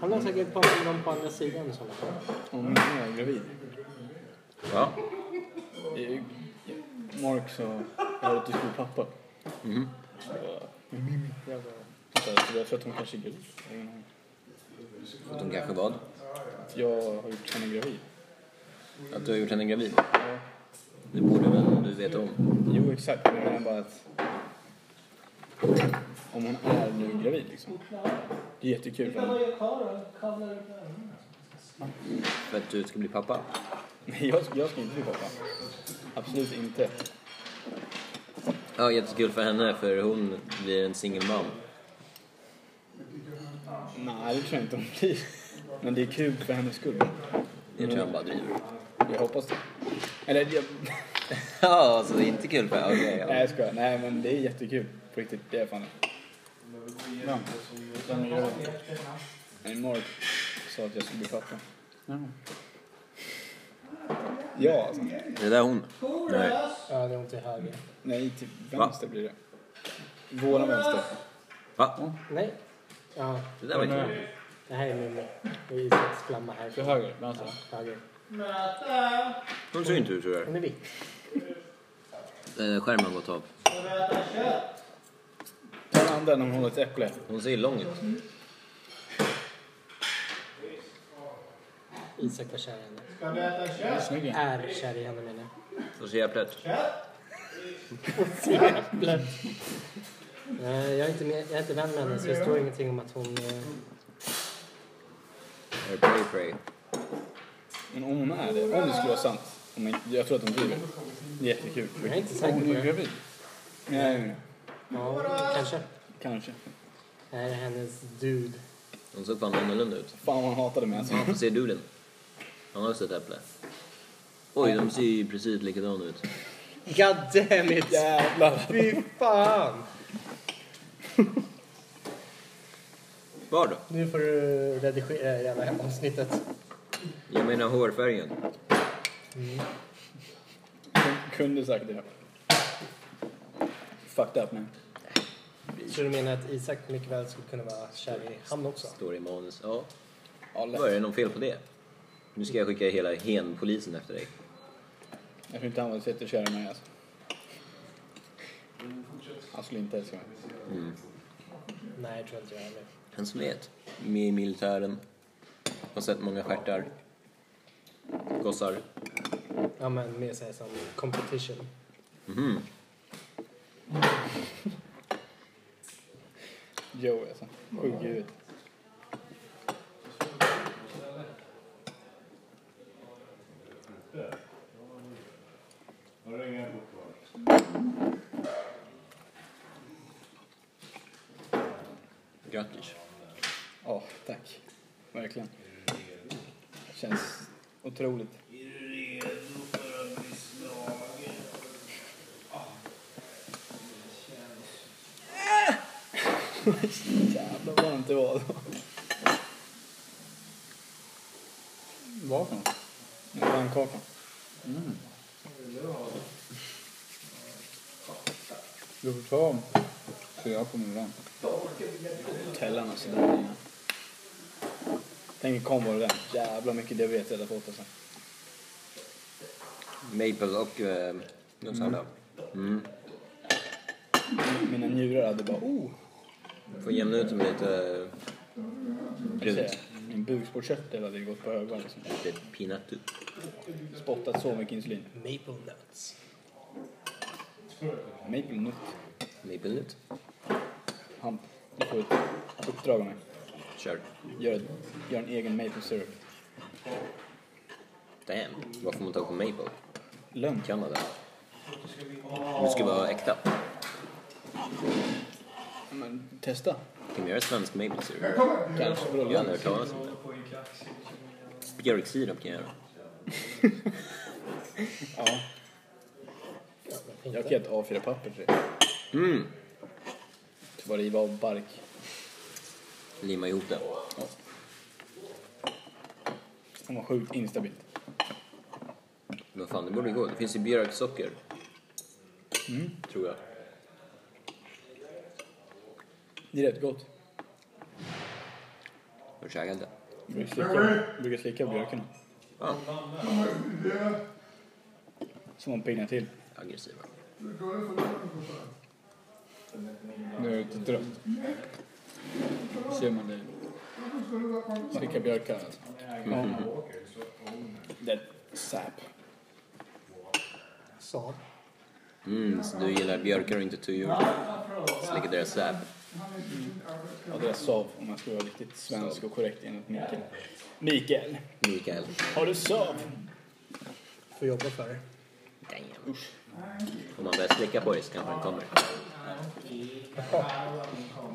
B: Han har säkert pratat med dem på andra sidan i sådana fall.
D: Hon är gravid.
A: Ja.
D: Det är ju- Mark sa jag har ett diskussion pappa.
A: Mhm.
D: Jag bara, men min jävla... Vänta, så Jag tror att hon kanske är gravid. Jag har ingen aning.
A: Att hon kanske vad?
D: Jag har gjort henne gravid.
A: Att du har gjort henne gravid? Det borde väl du veta om?
D: Jo, exakt. Men jag menar bara att... Om hon är nu gravid liksom. Det är jättekul för henne.
A: För att du ska bli pappa?
D: Nej, jag, jag ska inte bli pappa. Absolut inte.
A: Ja, jättekul för henne för hon blir en singelmam.
D: Nej, det tror jag inte hon blir. Men det är kul för hennes skull.
A: Det tror jag han bara driver. <laughs>
D: Jag hoppas det. Eller, jag,
A: Ja, så det är inte kul för henne? Okej,
D: nej jag skojar. Nej, men det är jättekul. På riktigt, det är fan det.
F: Ja. Sen är jag...
D: Men Mark sa att jag skulle bli pappa.
F: Ja.
D: Ja, alltså.
A: ja. Det där hon? Nej.
B: Ja, det är hon till höger.
D: Nej, till vänster blir det. Våran vänster.
A: Va?
B: Nej. Ja,
A: Det där var inte kul.
B: det här är Mimmi. Och Isaks flamma
D: Till
B: här.
D: höger, vänster.
B: Höger.
A: Hon ser inte ut sådär.
B: Hon är vit.
A: Eh, skärmen har gått av.
D: Ta den andra när hon håller ett äpple.
A: Hon ser lång ut.
B: Isak var kär i henne.
D: Vad snygg den är.
B: Är kär i henne menar jag.
A: Hon ser äpplet.
B: Nej, Eh, Jag är inte, med, jag är inte vän med henne så det står ingenting om att hon... eh,
A: Eller pray pray.
D: Men om hon är det, om det skulle vara sant. Om jag, jag tror att hon driver. Det är Jättekul.
B: Jag är inte säker
D: Hon
B: på
D: är ju
B: det.
D: gravid. Nej, nej, nej.
B: Ja, kanske.
D: kanske.
B: Det här är hennes dude.
A: Hon såg fan annorlunda ut.
D: Fan vad hon hatade mig alltså.
A: Varför ser du den? Han har också ett äpple. Oj, de ser ju precis likadana ut.
B: God damn it!
D: Jävlar.
B: Fy fan!
A: Var då?
B: Nu får du redigera det jävla avsnittet.
A: Jag menar hårfärgen.
D: Hon kunde sagt det. Fucked up man.
B: Så du menar att Isak mycket väl skulle kunna vara kär i han också?
A: Står i manus. Ja,
D: Ja, lätt.
A: var det någon fel på det? Nu ska jag skicka hela henpolisen efter dig.
D: Jag tror inte han var så jättekär i mig alltså. Han skulle inte älska mig.
B: Nej, jag tror inte jag heller.
A: Han som vet. Med i militären. Har sett många stjärtar. Gossar.
B: Ja, men mer såhär som competition.
A: Mhm.
D: Joey alltså. Sjuk i huvudet.
A: Grattis.
D: Ja, tack. Verkligen. Känns otroligt. Jävlar vad varmt det var då. Vad för något? En pannkaka.
F: Du får ta fyra på min vän.
D: Hotellen alltså. Den är... Tänk kom var det där. Jävla mycket diabetes jag hade fått alltså.
A: Maple och eh, Uppsala. Mm.
D: Mina njurar hade bara oh.
A: Får jämna ut dem lite. eh,
D: Jag
A: Brunt.
D: säger, Min bukspottkörtel hade ju gått på högvarv liksom.
A: Lite peanut. typ.
D: Spottat så mycket insulin.
B: Maple nuts.
D: Maple nut.
A: Maple nut.
D: Han, du får ett uppdrag av mig.
A: Kör.
D: Gör, gör en egen maple syrup.
A: Damn. Vad får man tag på Maple?
D: Lönn.
A: Kanada. Det ska vara äkta.
D: Men testa.
A: Kan vi göra svensk Maple syrup?
D: Kanske beror
A: Jag har aldrig hört talas om det. Björksirap kan jag göra.
D: Ja. Jag kan göra ett A4-papper till Typ det.
A: Mm.
D: Så bara riva av bark.
A: Limma ihop det.
D: Det var sjukt instabilt.
A: Men fan, det borde gå. Det finns ju björksocker. Tror jag.
D: Det är rätt gott.
A: Har du käkat det?
D: Jag brukar slicka, jag brukar slicka björkarna.
A: Ja.
D: Så man piggnar till.
A: Aggressiva.
D: Nu är jag lite trött. Ser man det? Slicka björkar alltså.
A: Mm.
D: Ja. Det är sap.
B: Saab.
A: Mm, så du gillar björkar och inte tujor? Slickar deras säp.
D: Ja, det är sav om man ska vara riktigt svensk och korrekt enligt Mikael. Mikael,
A: Mikael.
D: har du sav?
B: Får jobba för det.
A: Damn. Om man börjar slicka på det så kanske den kommer.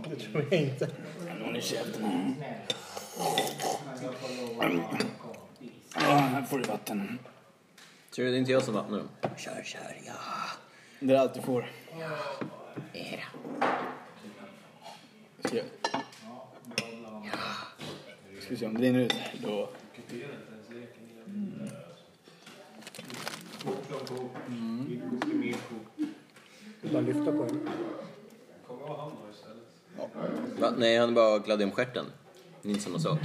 B: Det tror jag inte.
D: Någon i käften. Ja, här får du vatten.
A: Tror du det är inte jag som vattnar dem? Kör, kör, ja.
D: Det är allt du får.
A: Era.
D: Ska jag... Ska vi se om det rinner ut här då.
B: Bara lyfta på den.
A: Va? Nej, han är bara glad om stjärten. Det är inte samma sak.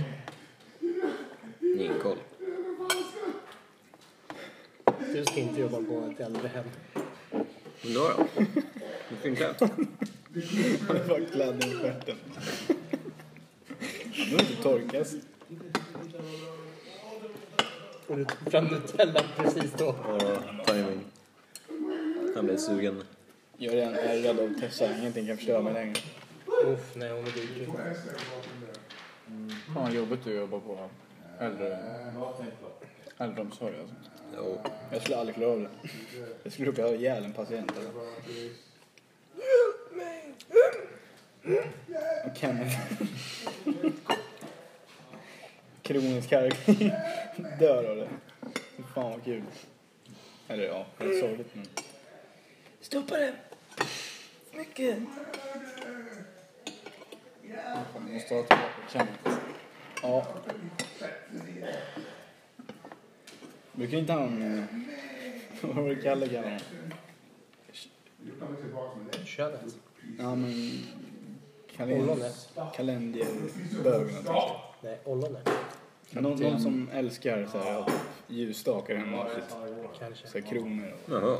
A: Ni har ingen koll.
B: Du ska inte jobba på ett äldrehem.
A: Men då då? Varför inte?
D: Han är bara klädd i stjärten. Han behöver inte torkas.
B: Och du tog fram Nutellan precis då.
A: Ja, timing. Han blev sugen.
D: Jag är redan ärrad av Tessa. Ingenting kan förstöra mig längre.
B: Uff, nej hon är dyr.
D: Fan jobbigt du jobbar på äldre... äldreomsorg alltså.
A: Jo.
D: Jag skulle aldrig klara av det. Jag skulle råka ha ihjäl en patient eller? Och Kenneth. Kronisk karkning. Dör av det. Fy Fan vad kul. Eller ja, helt sorgligt men. Stoppa det! Mycket! Fan, jag måste ha tillbaka Kenneth. Ja. Brukar inte han... eh, Vad var det Kalle kallade honom?
B: Könet.
D: Ja men... Kalend-
B: Ollonet.
D: Kalenderbögen eller
B: Nej, ollonet.
D: någon, någon som älskar så här, ljusstakar hemma och shit.
B: Kanske.
D: Så här, kronor och
A: Jaha.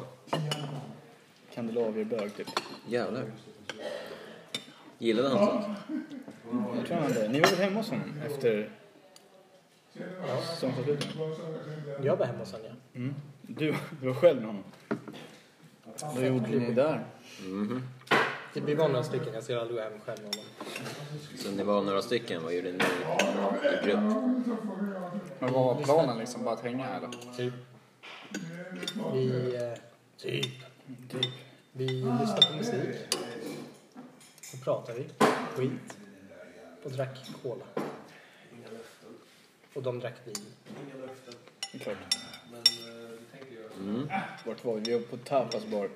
D: kandelaberbög typ.
A: Jävlar. Gillade han sånt?
D: Jag tror han det. Ni var väl hemma hos honom efter säsongsavslutningen?
B: Jag var hemma hos honom, ja.
D: Mm. Du, du var själv med honom? Vad gjorde ni där?
A: Mhm.
B: Det blir bara några stycken. Jag ska aldrig gå hem själv med honom.
A: Så ni var några stycken, vad gjorde ni i grupp?
G: Men vad var planen liksom? Bara att hänga eller?
B: Typ. Vi... Eh, typ. Vi
A: Ah,
B: lyssnade på musik. Och pratade skit. Och drack cola. Och de drack vin.
D: Det är klart. Mm. Vart var vi? Vi var på Tapas bar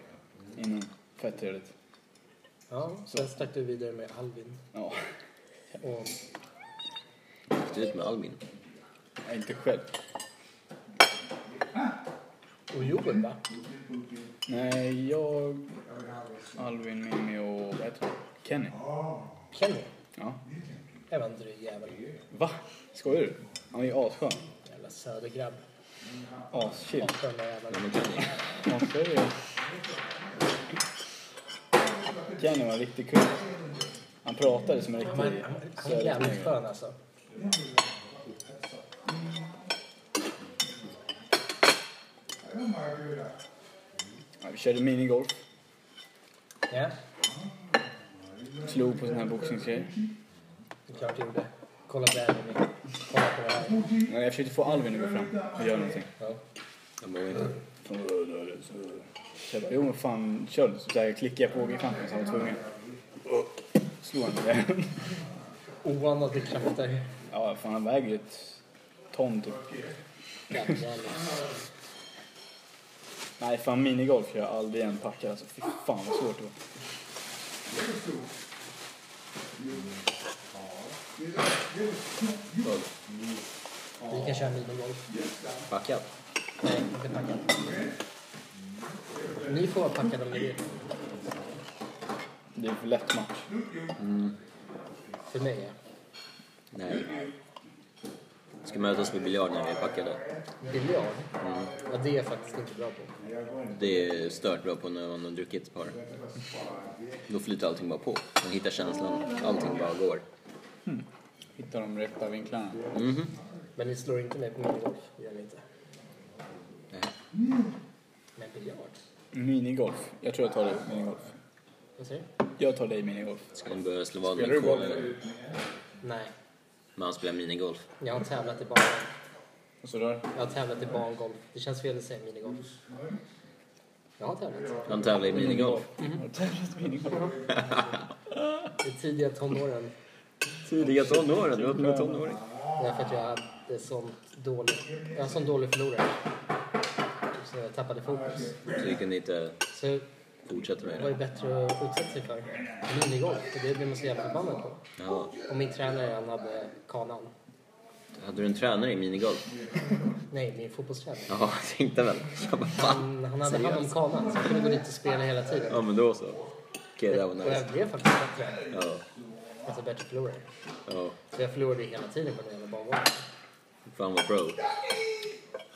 D: innan. Fett trevligt.
B: Ja, sen stack du vidare med Alvin.
D: Ja,
B: Och
A: Gick du ut med Albin?
D: jag är inte själv.
B: Och Joel va?
D: Nej, jag, Alvin, Mimmi och vad heter han? Kenny.
B: Kenny?
D: Ja.
B: Det var en dryg jävel.
D: Va? Skojar du? Han är ju asskön.
B: Jävla södergrabb.
D: Aschill.
B: Hatar den där jäveln.
A: Ja, men kan ni?
D: Man säger ju. Kenny var en riktig kung. Han pratade som en
B: Han var-
D: riktig
B: han var- han var jävligt
D: söderkung.
B: skön alltså.
D: Ja, vi körde minigolf.
B: Ja.
D: Slog på sån här boxningsgrej.
B: Det är klart jag gjorde. Kolla på det här. Henrik. Kolla på det här.
D: Nej, Jag försökte få Alvin att gå fram och göra någonting.
B: Ja.
A: Jag mår inte.
D: Så jag bara, jo men fan kör du. Så där klickade jag på ågerkanten så han var tvungen. Slog han med den.
B: Oanade krafter.
D: Ja, fan han väger ju ett ton typ.
B: Jävlar. alltså.
D: Nej, fan minigolf gör jag aldrig igen packad alltså. Fy fan vad svårt det var.
B: Vi kan köra minigolf.
A: Packat.
B: Nej, inte packat. Ni får vara packade om ni vill.
D: Det är för lätt match.
B: För mig, ja.
A: Nej. Ska mötas på biljard när vi är packade.
B: Biljard? Ja, det är jag faktiskt inte bra på.
A: Det är stört bra på när man har druckit ett par. Då flyter allting bara på. Man hittar känslan. Allting bara går.
E: Hittar de rätta vinklarna.
A: Mhm.
B: Men ni slår inte mig på minigolf. Det gör ni inte. Men biljard?
D: Minigolf. Jag tror jag tar dig på minigolf.
B: Vad säger du?
D: Jag tar dig i minigolf.
A: Ska man börja slå vad
E: Spelar du
A: med
E: golf?
A: kolen?
B: Nej,
A: Men han spelar minigolf.
B: jag har tävlat i barn.
D: Och så där.
B: Jag har tävlat i barngolf. Det känns fel att säga minigolf. Jag har tävlat.
A: Han tävlar i minigolf.
D: Har du tävlat minigolf?
B: I tidiga tonåren.
A: Tidiga tonåren. Du var nog tonåring.
B: Därför att jag hade sånt dåligt... Jag har sån dålig förlorare. Så jag tappade fokus.
A: Så vi kunde inte
B: Så
A: fortsätta med
B: det var ju
A: det.
B: bättre att utsätta sig för minigolf. För det blev man så jävla förbannad på.
A: Ja.
B: Och min tränare, han hade kanan.
A: Hade du en tränare i minigolf?
B: Nej, min fotbollstränare.
A: Ja, <laughs> jag tänkte väl. Jag bara, fan.
B: Han, han hade hand om kanan, så jag kunde gå dit och spela hela tiden.
A: Ja, men då så. Okej, det var
B: Och jag
A: nice.
B: blev faktiskt bättre.
A: Ja.
B: Alltså bättre förlorare.
A: ja.
B: Så jag förlorade hela tiden på den jävla barngolfen.
A: Fan vad pro.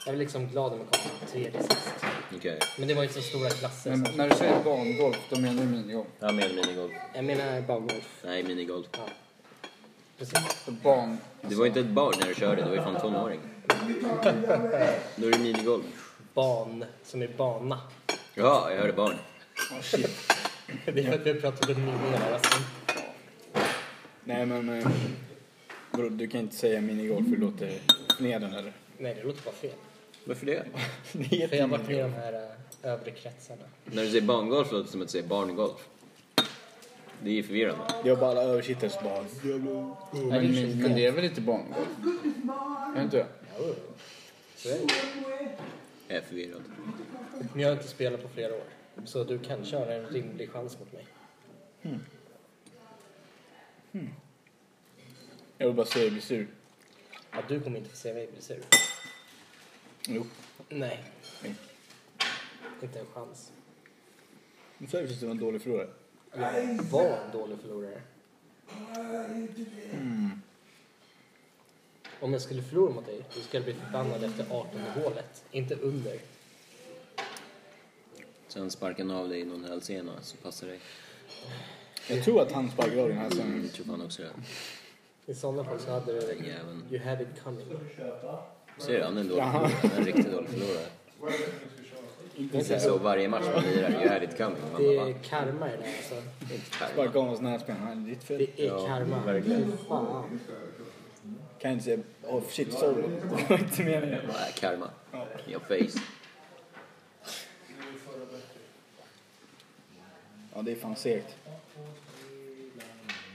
B: Jag var liksom glad om jag kom till tredje sist.
A: Okej.
B: Men det var inte så stora klasser.
E: Men
B: så.
E: när du säger barngolf, då menar du minigolf?
A: Ja, med minigolf.
B: Jag menar barngolf.
A: Nej, minigolf.
B: Ja. Precis.
E: För barn...
A: Du var inte ett barn när du körde, du var ju fan tonåring. Då är det minigolf.
B: Ban, som är bana. <laughs>
A: Ja, jag hörde barn.
B: Det är för att vi har pratat om minor. Alltså.
D: Nej men... eh, Bro, du kan inte säga minigolf för det låter förnedrande eller? <laughs>
B: Nej, det låter bara fel.
A: Varför det?
D: Det heter
B: För jag har varit med i de här eh, övre kretsarna.
A: När du säger barngolf låter det som att du säger barngolf. Det är ju förvirrande.
D: Jag bara alla översittare som bara...
E: Men, min- men det är väl lite barngolf? Är det inte det?
B: Jo, så är det.
A: Jag är förvirrad.
B: Men jag har inte spelat på flera år. Så du kan köra en rimlig chans mot mig.
D: Jag vill bara säga bli sur.
B: Ja, du kommer inte få se mig bli sur.
D: Jo.
B: Nej.
D: Nej.
B: Inte en chans.
D: Du säger precis att du var en dålig förlorare.
B: Jag var en dålig förlorare. Om jag skulle förlora mot dig, då skulle jag bli förbannad efter 18 hålet. Inte under.
A: Sen sparkar han av dig i någon hälsena så passar det.
D: Jag tror att han sparkade av den här sen.
A: Mm, Jag tror fan också det.
B: I sådana fall så hade
A: Den
B: du...
A: jäveln.
B: You had it coming.
A: Ser du? Han är en dålig förlorare. En riktigt dålig förlorare. Det är så varje match man lirar. You had it coming. Man
B: Det
A: bara,
B: är
A: va?
B: karma det där alltså.
A: Det är inte karma.
D: Sparkade av hans näsben. Han är ditt fel.
B: Det är karma. Fy Fan.
D: Kan jag inte säga... Oh shit, sorry. Det var inte meningen.
A: Nej, karma. Your face.
D: Ja, det är fan segt.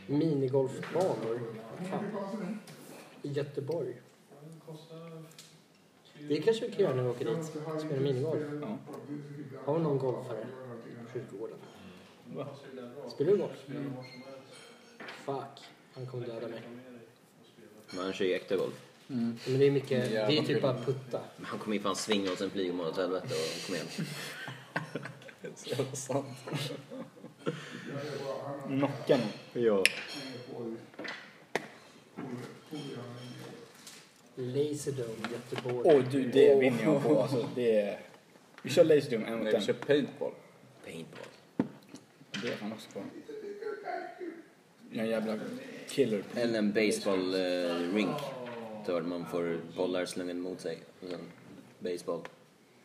B: Minigolfbanor. Fan. I Göteborg. Det kanske vi kan göra när vi åker dit. Spela minigolf.
D: Ja.
B: Har vi någon golfare på kyrkogården? Spelar du golf?
H: Mm.
B: Fuck. Han kommer döda mig.
A: Man kör ju äkta golf.
B: Men det är mycket... Det är ju typ bara putta.
A: Men han kommer ju fan svinga och sen flyger man åt helvete och kom igen.
D: Så jävla sant. Knocka någon. Ja.
B: Laserdome,
H: Mm.
B: Göteborg.
D: Åh du, det vinner jag på. Alltså, det är... Vi kör Laserdome en mot
E: Nej, vi kör
D: en.
E: paintball.
A: Paintball.
D: Det är han också på. Jag är en jävla killer.
A: Eller en baseball eh, rink. Där man får bollar slungade mot sig. Och sen baseball.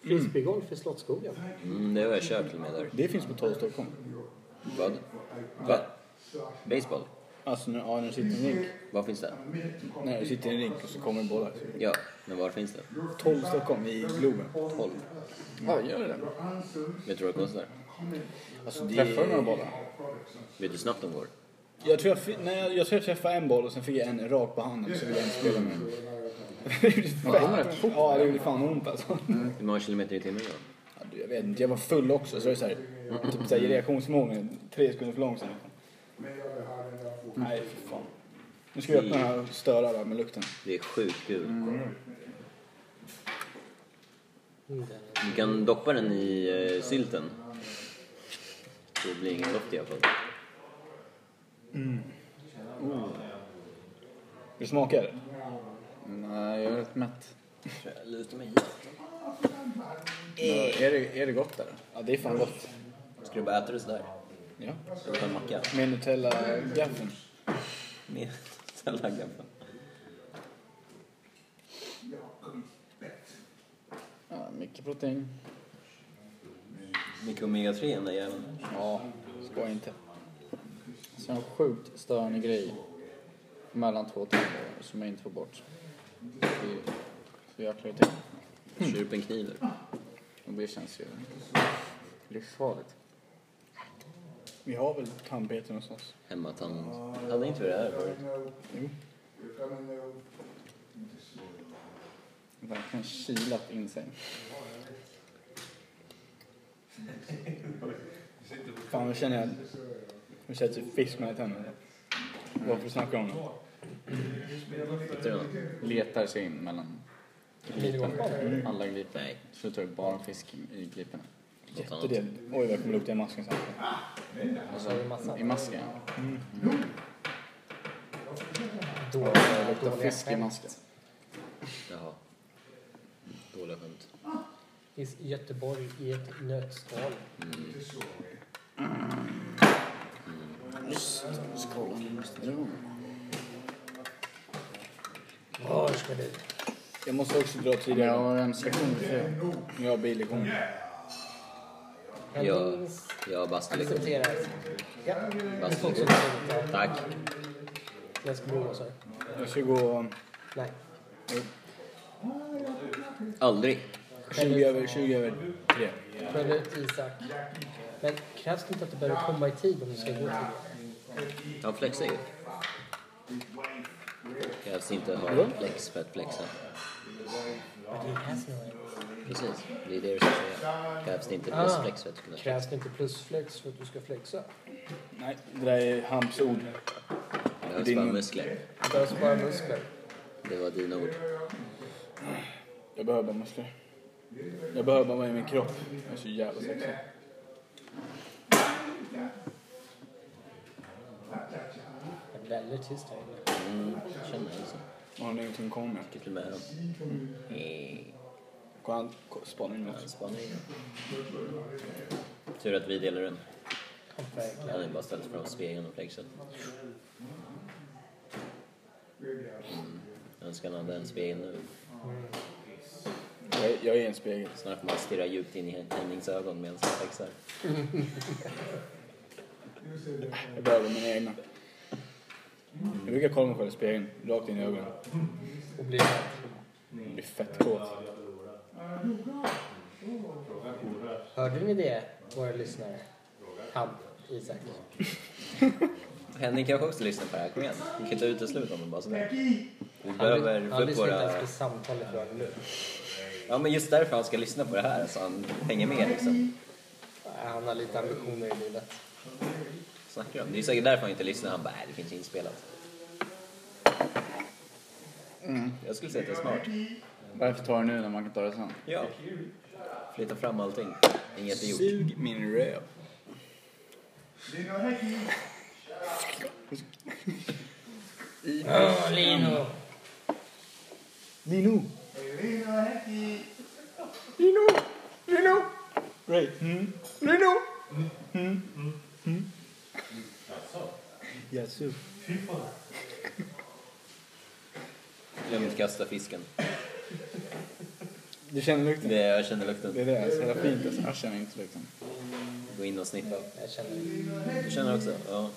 B: Frisbeegolf i Slottsskogen.
A: Mm, det har jag kört till och med där.
D: Det finns på 12 Stockholm.
A: Vad?
D: Va?
A: Baseball?
D: Alltså nu, ja, nu sitter det en rink.
A: Var finns det?
D: Nej, du sitter i en rink och så kommer det bollar.
A: Ja, men var finns det?
D: 12 Stockholm i Globen.
A: 12.
H: Ja, gör det.
A: Vet du vad det kostar?
D: Alltså, det
H: Träffar du några
D: är...
H: bollar?
A: Vet du snabbt de går?
D: Jag tror jag, fi- nej, jag, jag tror jag träffade en boll och sen fick jag en rakt på handen och så ville jag inte spela med
H: <laughs>
D: den.
H: De kommer rätt fort.
D: Ja, det gjorde fan ont alltså.
A: Hur många kilometer i timmen då?
D: Ja, du, jag vet inte, jag var full också så det är så här, typ så här, i reaktionsförmågan tre sekunder för långsamt. Nej, för fan. Nu ska jag öppna den här och störa där med lukten.
A: Det är sjukt kul.
B: Mm, det är det.
A: Du kan doppa den i eh, sylten. Det blir ingen doft i alla fall.
D: Hur smakar det?
H: Nej, jag är rätt mätt.
A: Jag lutar mig hit.
D: Är det, är det gott eller? Eh. Ja, det är fan gott.
A: Ska du bara äta det sådär?
D: Ja.
A: Ska du ta en macka?
D: Med Nutella-gaffeln.
A: Med salladgaffeln.
H: Ja, mycket protein.
A: Mycket omega-3 i den där jäveln.
D: Ja, skoja inte.
H: Så en sjukt störande grej mellan två tänder som jag inte får bort. Det är ju så jäkla irriterande.
A: Kör upp Mm. en kniv där.
H: Och Det känns ju livsfarligt.
D: Vi har väl tandpetare hos oss?
A: Hemma tand. Hade inte vi det här förut?
H: Verkligen kilat in sig.
D: Fan, nu känner jag... Nu känner jag typ fisk mellan tänderna. Varför snackar jag om det?
A: Hittar du någon?
H: Letar sig in mellan gliporna. Alla glipor. Nej. Slutar bara fisk i gliporna.
A: Något annat?
D: Det, oj, vad det kommer lukta i masken sen.
H: Alltså, I masken, ja.
B: Dåliga,
H: Luktar
B: dåliga
H: fisk i
B: skämt.
H: masken.
A: Jaha. Dåliga skämt.
B: Finns i Göteborg i ett nötskal. Var ska du?
D: Jag måste också dra tidigare.
H: Jag har en sektion fel.
D: Jag har billektion.
A: Jag,
B: Jag
A: jag bastulektion.
B: accepterar. Ja,
A: Bastulektion. Tack.
B: jag ska bo så.
D: Jag ska gå
B: Nej.
A: Aldrig.
D: 20 över, 20 över 3.
B: Skäll ut Isak. Men krävs det inte att du behöver komma i tid om du ska gå till
A: Han flexar ju. Krävs inte ha flex för att flexa.
B: det? Krävs det några?
A: Precis, det är det du ska säga. Krävs det inte plus
B: Ah.
A: flex för att kunna flexa?
B: Krävs det inte plusflex för att du ska flexa?
D: Nej, det där är Hamps ord.
A: Det behövs
D: Din-
A: bara muskler.
B: Det behövs bara muskler.
A: Det var dina ord.
D: Jag behöver bara muskler. Jag behöver bara vara i min kropp. Jag är så jävla sexig.
B: Det är väldigt tyst här inne.
A: Mm, jag känner det så.
D: Och han har ingenting att komma med.
A: Fick du med dem? Eh,
D: Går han spanar in
A: en
D: också?
A: spaning. Tur att vi delar den.
B: Verkligen.
A: Han är bara ställt framför spegeln och flexat. Mm. Önskar han hade en spegel nu.
D: Jag, jag är en spegel.
A: Snart kommer han stirra djupt in i Hennings ögon medan han flexar.
D: Jag behöver mina egna. Jag brukar kolla mig själv i spegeln, rakt in i ögonen.
B: Och blir rädd.
D: Jag blir fett kåt.
B: Hörde ni det, våra lyssnare? Han, Isak.
A: Henning kanske också lyssnar på det här. Kom igen. Vi kan inte utesluta honom bara sådär. Vi behöver få
B: han
A: upp
B: lyssnar inte ens
A: våra...
B: på samtalet vi har nu.
A: Ja, men just därför han ska lyssna på det här. Så han hänger med liksom.
B: Han har lite ambitioner i livet.
A: Snackar du om? Det är säkert därför han inte lyssnar. Han bara, "Nej, det finns inspelat. Jag skulle säga att det är smart.
H: Varför tar du nu när man kan ta det sen?
A: Ja. Flytta fram allting. Inget är gjort.
D: Sug min röv.
B: Åh, Lino!
D: Lino!
B: Lino! Lino!
D: Ray!
B: Lino!
D: Jaså?
A: Glömt kasta fisken.
D: Du känner lukten?
A: Det, jag känner
D: Det
A: lukten.
D: är det, så jävla fint alltså.
H: Jag känner inte lukten.
A: Gå in och sniffa.
B: Jag känner
A: Du känner också? Ja.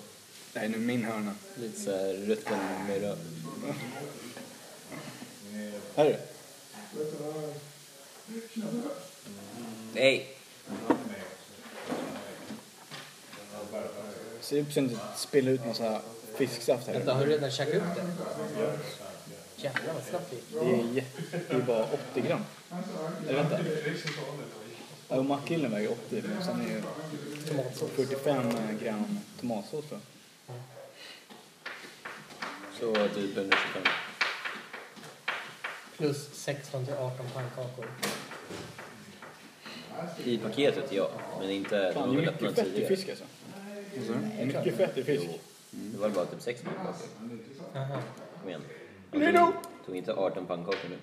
I: Nej, nu är min hörna.
A: Lite såhär rutten med röv.
D: Här är det.
A: Nej!
D: Se upp så att du inte spiller ut massa fisksaft här.
B: Vänta, har du redan käkat upp det? Jävlar vad snabbt det gick.
D: Det är, jätte, det är bara 80 gram. Nej, vänta. Ja, och Mackgillen väger 80, men sen är
B: Tomatsås.
D: det 45 gram tomatsås tror jag.
A: Så typ 125.
B: Plus 618 pannkakor.
A: I paketet ja, men inte...
D: Fan,
A: de har
D: det är
A: väl öppnat
D: mycket fett i
A: tidigare.
D: fisk alltså. Det är mycket fett i fisk.
A: Det var bara typ 6 pannkakor.
B: Aha.
A: Kom igen. Han tog, tog inte 18 pannkakor nu.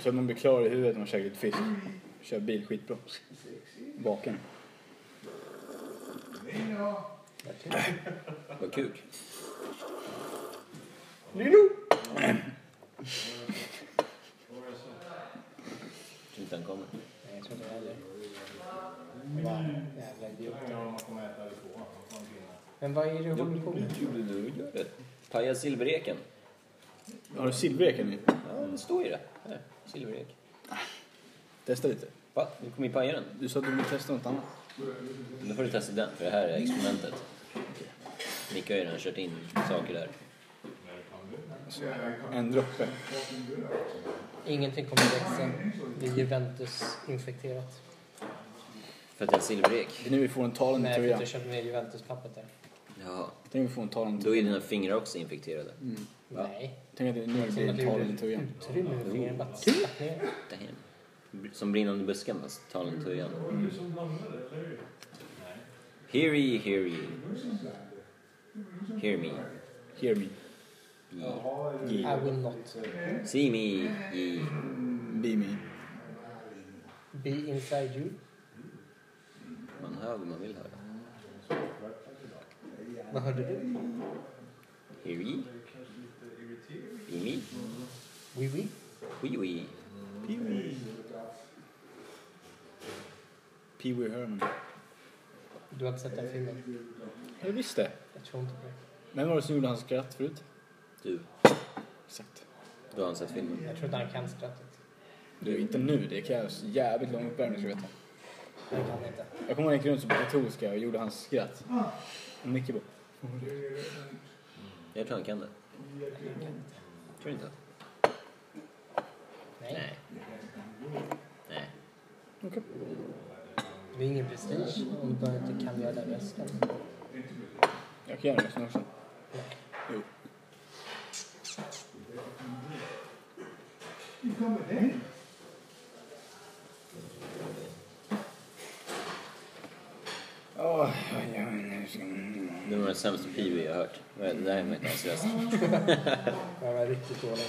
D: Så att man blir klar i huvudet när man käkar lite fisk. Kör bil skitbra. Baken.
A: Vad kul. Tror inte han kommer.
B: Nej, jag tror inte det heller. Bara jävla idioter. Men vad är det du håller på med?
A: Du gör det. Paja silvereken.
D: Har du silvereken i?
A: Ja, det står ju det. Här, silverek.
D: Testa lite.
A: Va? Du kommer ju paja den.
D: Du sa att du ville testa något annat.
A: Men Då får du testa den, för det här är experimentet. Micke har ju redan kört in saker där.
D: En droppe.
B: Ingenting kommer växa. Det är Juventus-infekterat.
A: För att det är en silverek.
D: Det är nu vi får en talande
B: Nej, för att
D: tröja.
B: jag köpte med Juventus-pappret där.
A: Ja.
D: Tänk om vi får en talande
A: Då är
D: tröja.
A: dina fingrar också infekterade.
B: Nej.
D: Tänk att det nu
B: Som
D: blir
B: att
D: en
B: du gjorde
D: talande tröja.
B: utrymme med fingrarna. Bara slapp ner.
A: Damn. Som brinnande busken fast talen tujan. Hear ye, hear ye. Hear me.
D: Hear me.
A: Ye.
B: I will not.
A: See me, ye.
D: Be me.
B: Be inside you.
A: Man hör vad man vill höra.
B: Vad hörde du?
A: Hear ye. Be me.
B: Oui, oui.
A: Wee wee.
D: Pee Wee Herman.
B: Du har inte sett den filmen?
D: Jag visste.
B: Jag tror inte på det.
D: Vem var det som gjorde hans skratt förut?
A: Du,
D: Exakt.
A: du har sett filmen?
B: Jag tror inte han kan skrattet.
D: Du, inte nu. Det krävs jävligt lång uppvärmning ska jag veta.
B: Han kan inte.
D: Jag kommer ihåg när jag gick runt som på katolska och gjorde hans skratt. Och Micke bara...
A: Jag tror han kan det. Tror du inte?
B: Nej.
A: Nej.
D: Okej.
B: Det är ingen prestige om du bara inte kan göra den rösten.
D: Jag kan göra det snart också. Jo. Åh, oj, oj, nu ska man...
A: Det var den sämsta Pee-Wee jag har hört. Men Det här var inte hans röst.
B: Jag var riktigt dålig.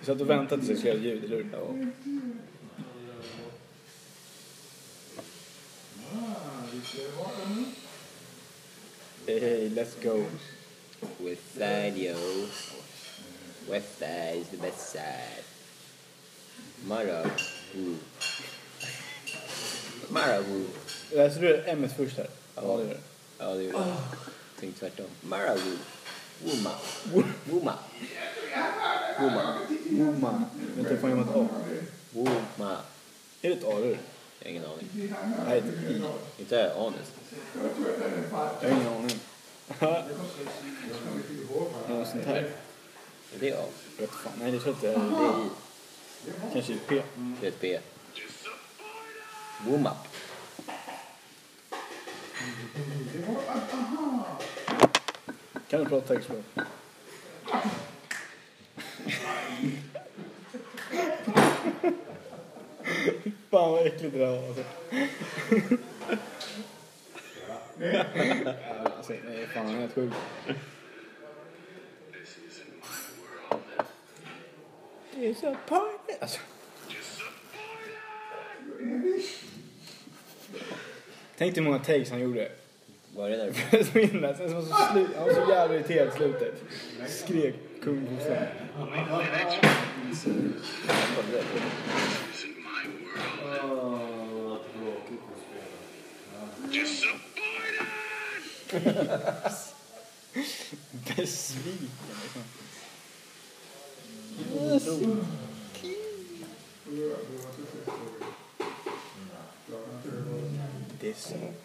D: Vi satt och väntade tills jag skulle göra ljud, eller hur? Hey, hey, let's go.
A: With video. With is the best side. Mara. Woo. Mara woo.
D: Läser Alltså, du M först här? Ja, det gör det.
A: Ja, det gjorde jag. Tänkte tvärtom. Mara woo. Wuma. Wuma. Wuma.
D: Woma. Vänta, får jag med ett A?
A: Wuma.
D: Är det ett A, eller hur?
A: Jag har ingen aning.
D: Nej, det är ett I.
A: Inte anus.
D: Jag har ingen aning. Något sånt här.
A: Är det A?
D: Jag vet fan. Nej, det tror jag inte. Det är I. Kanske i P.
A: Det är ett B. Wuma.
D: Kan du prata textspråk? Fan vad äckligt det där var alltså. Jävlar, alltså, Nej, fan han är helt sjuk. Disappointed! Alltså. Tänk dig hur många takes han gjorde.
A: Var är det där?
D: <laughs> Som innan, sen så var så slut, han var så jävla irriterad i slutet. Skrek kung på stan.
A: Kolla där.
D: Besviken. Besviken.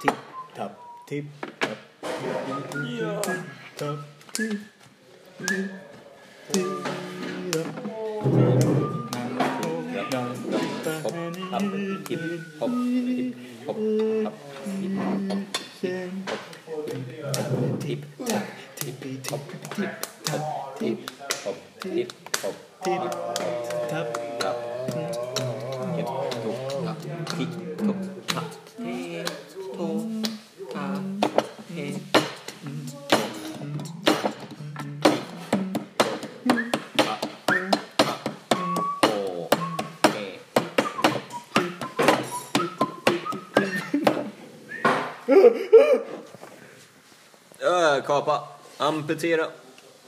D: Tipp-tapp, tipp-tapp. Ja. Tapp, tipp, tipp,
A: Ö, kapa. Amputera.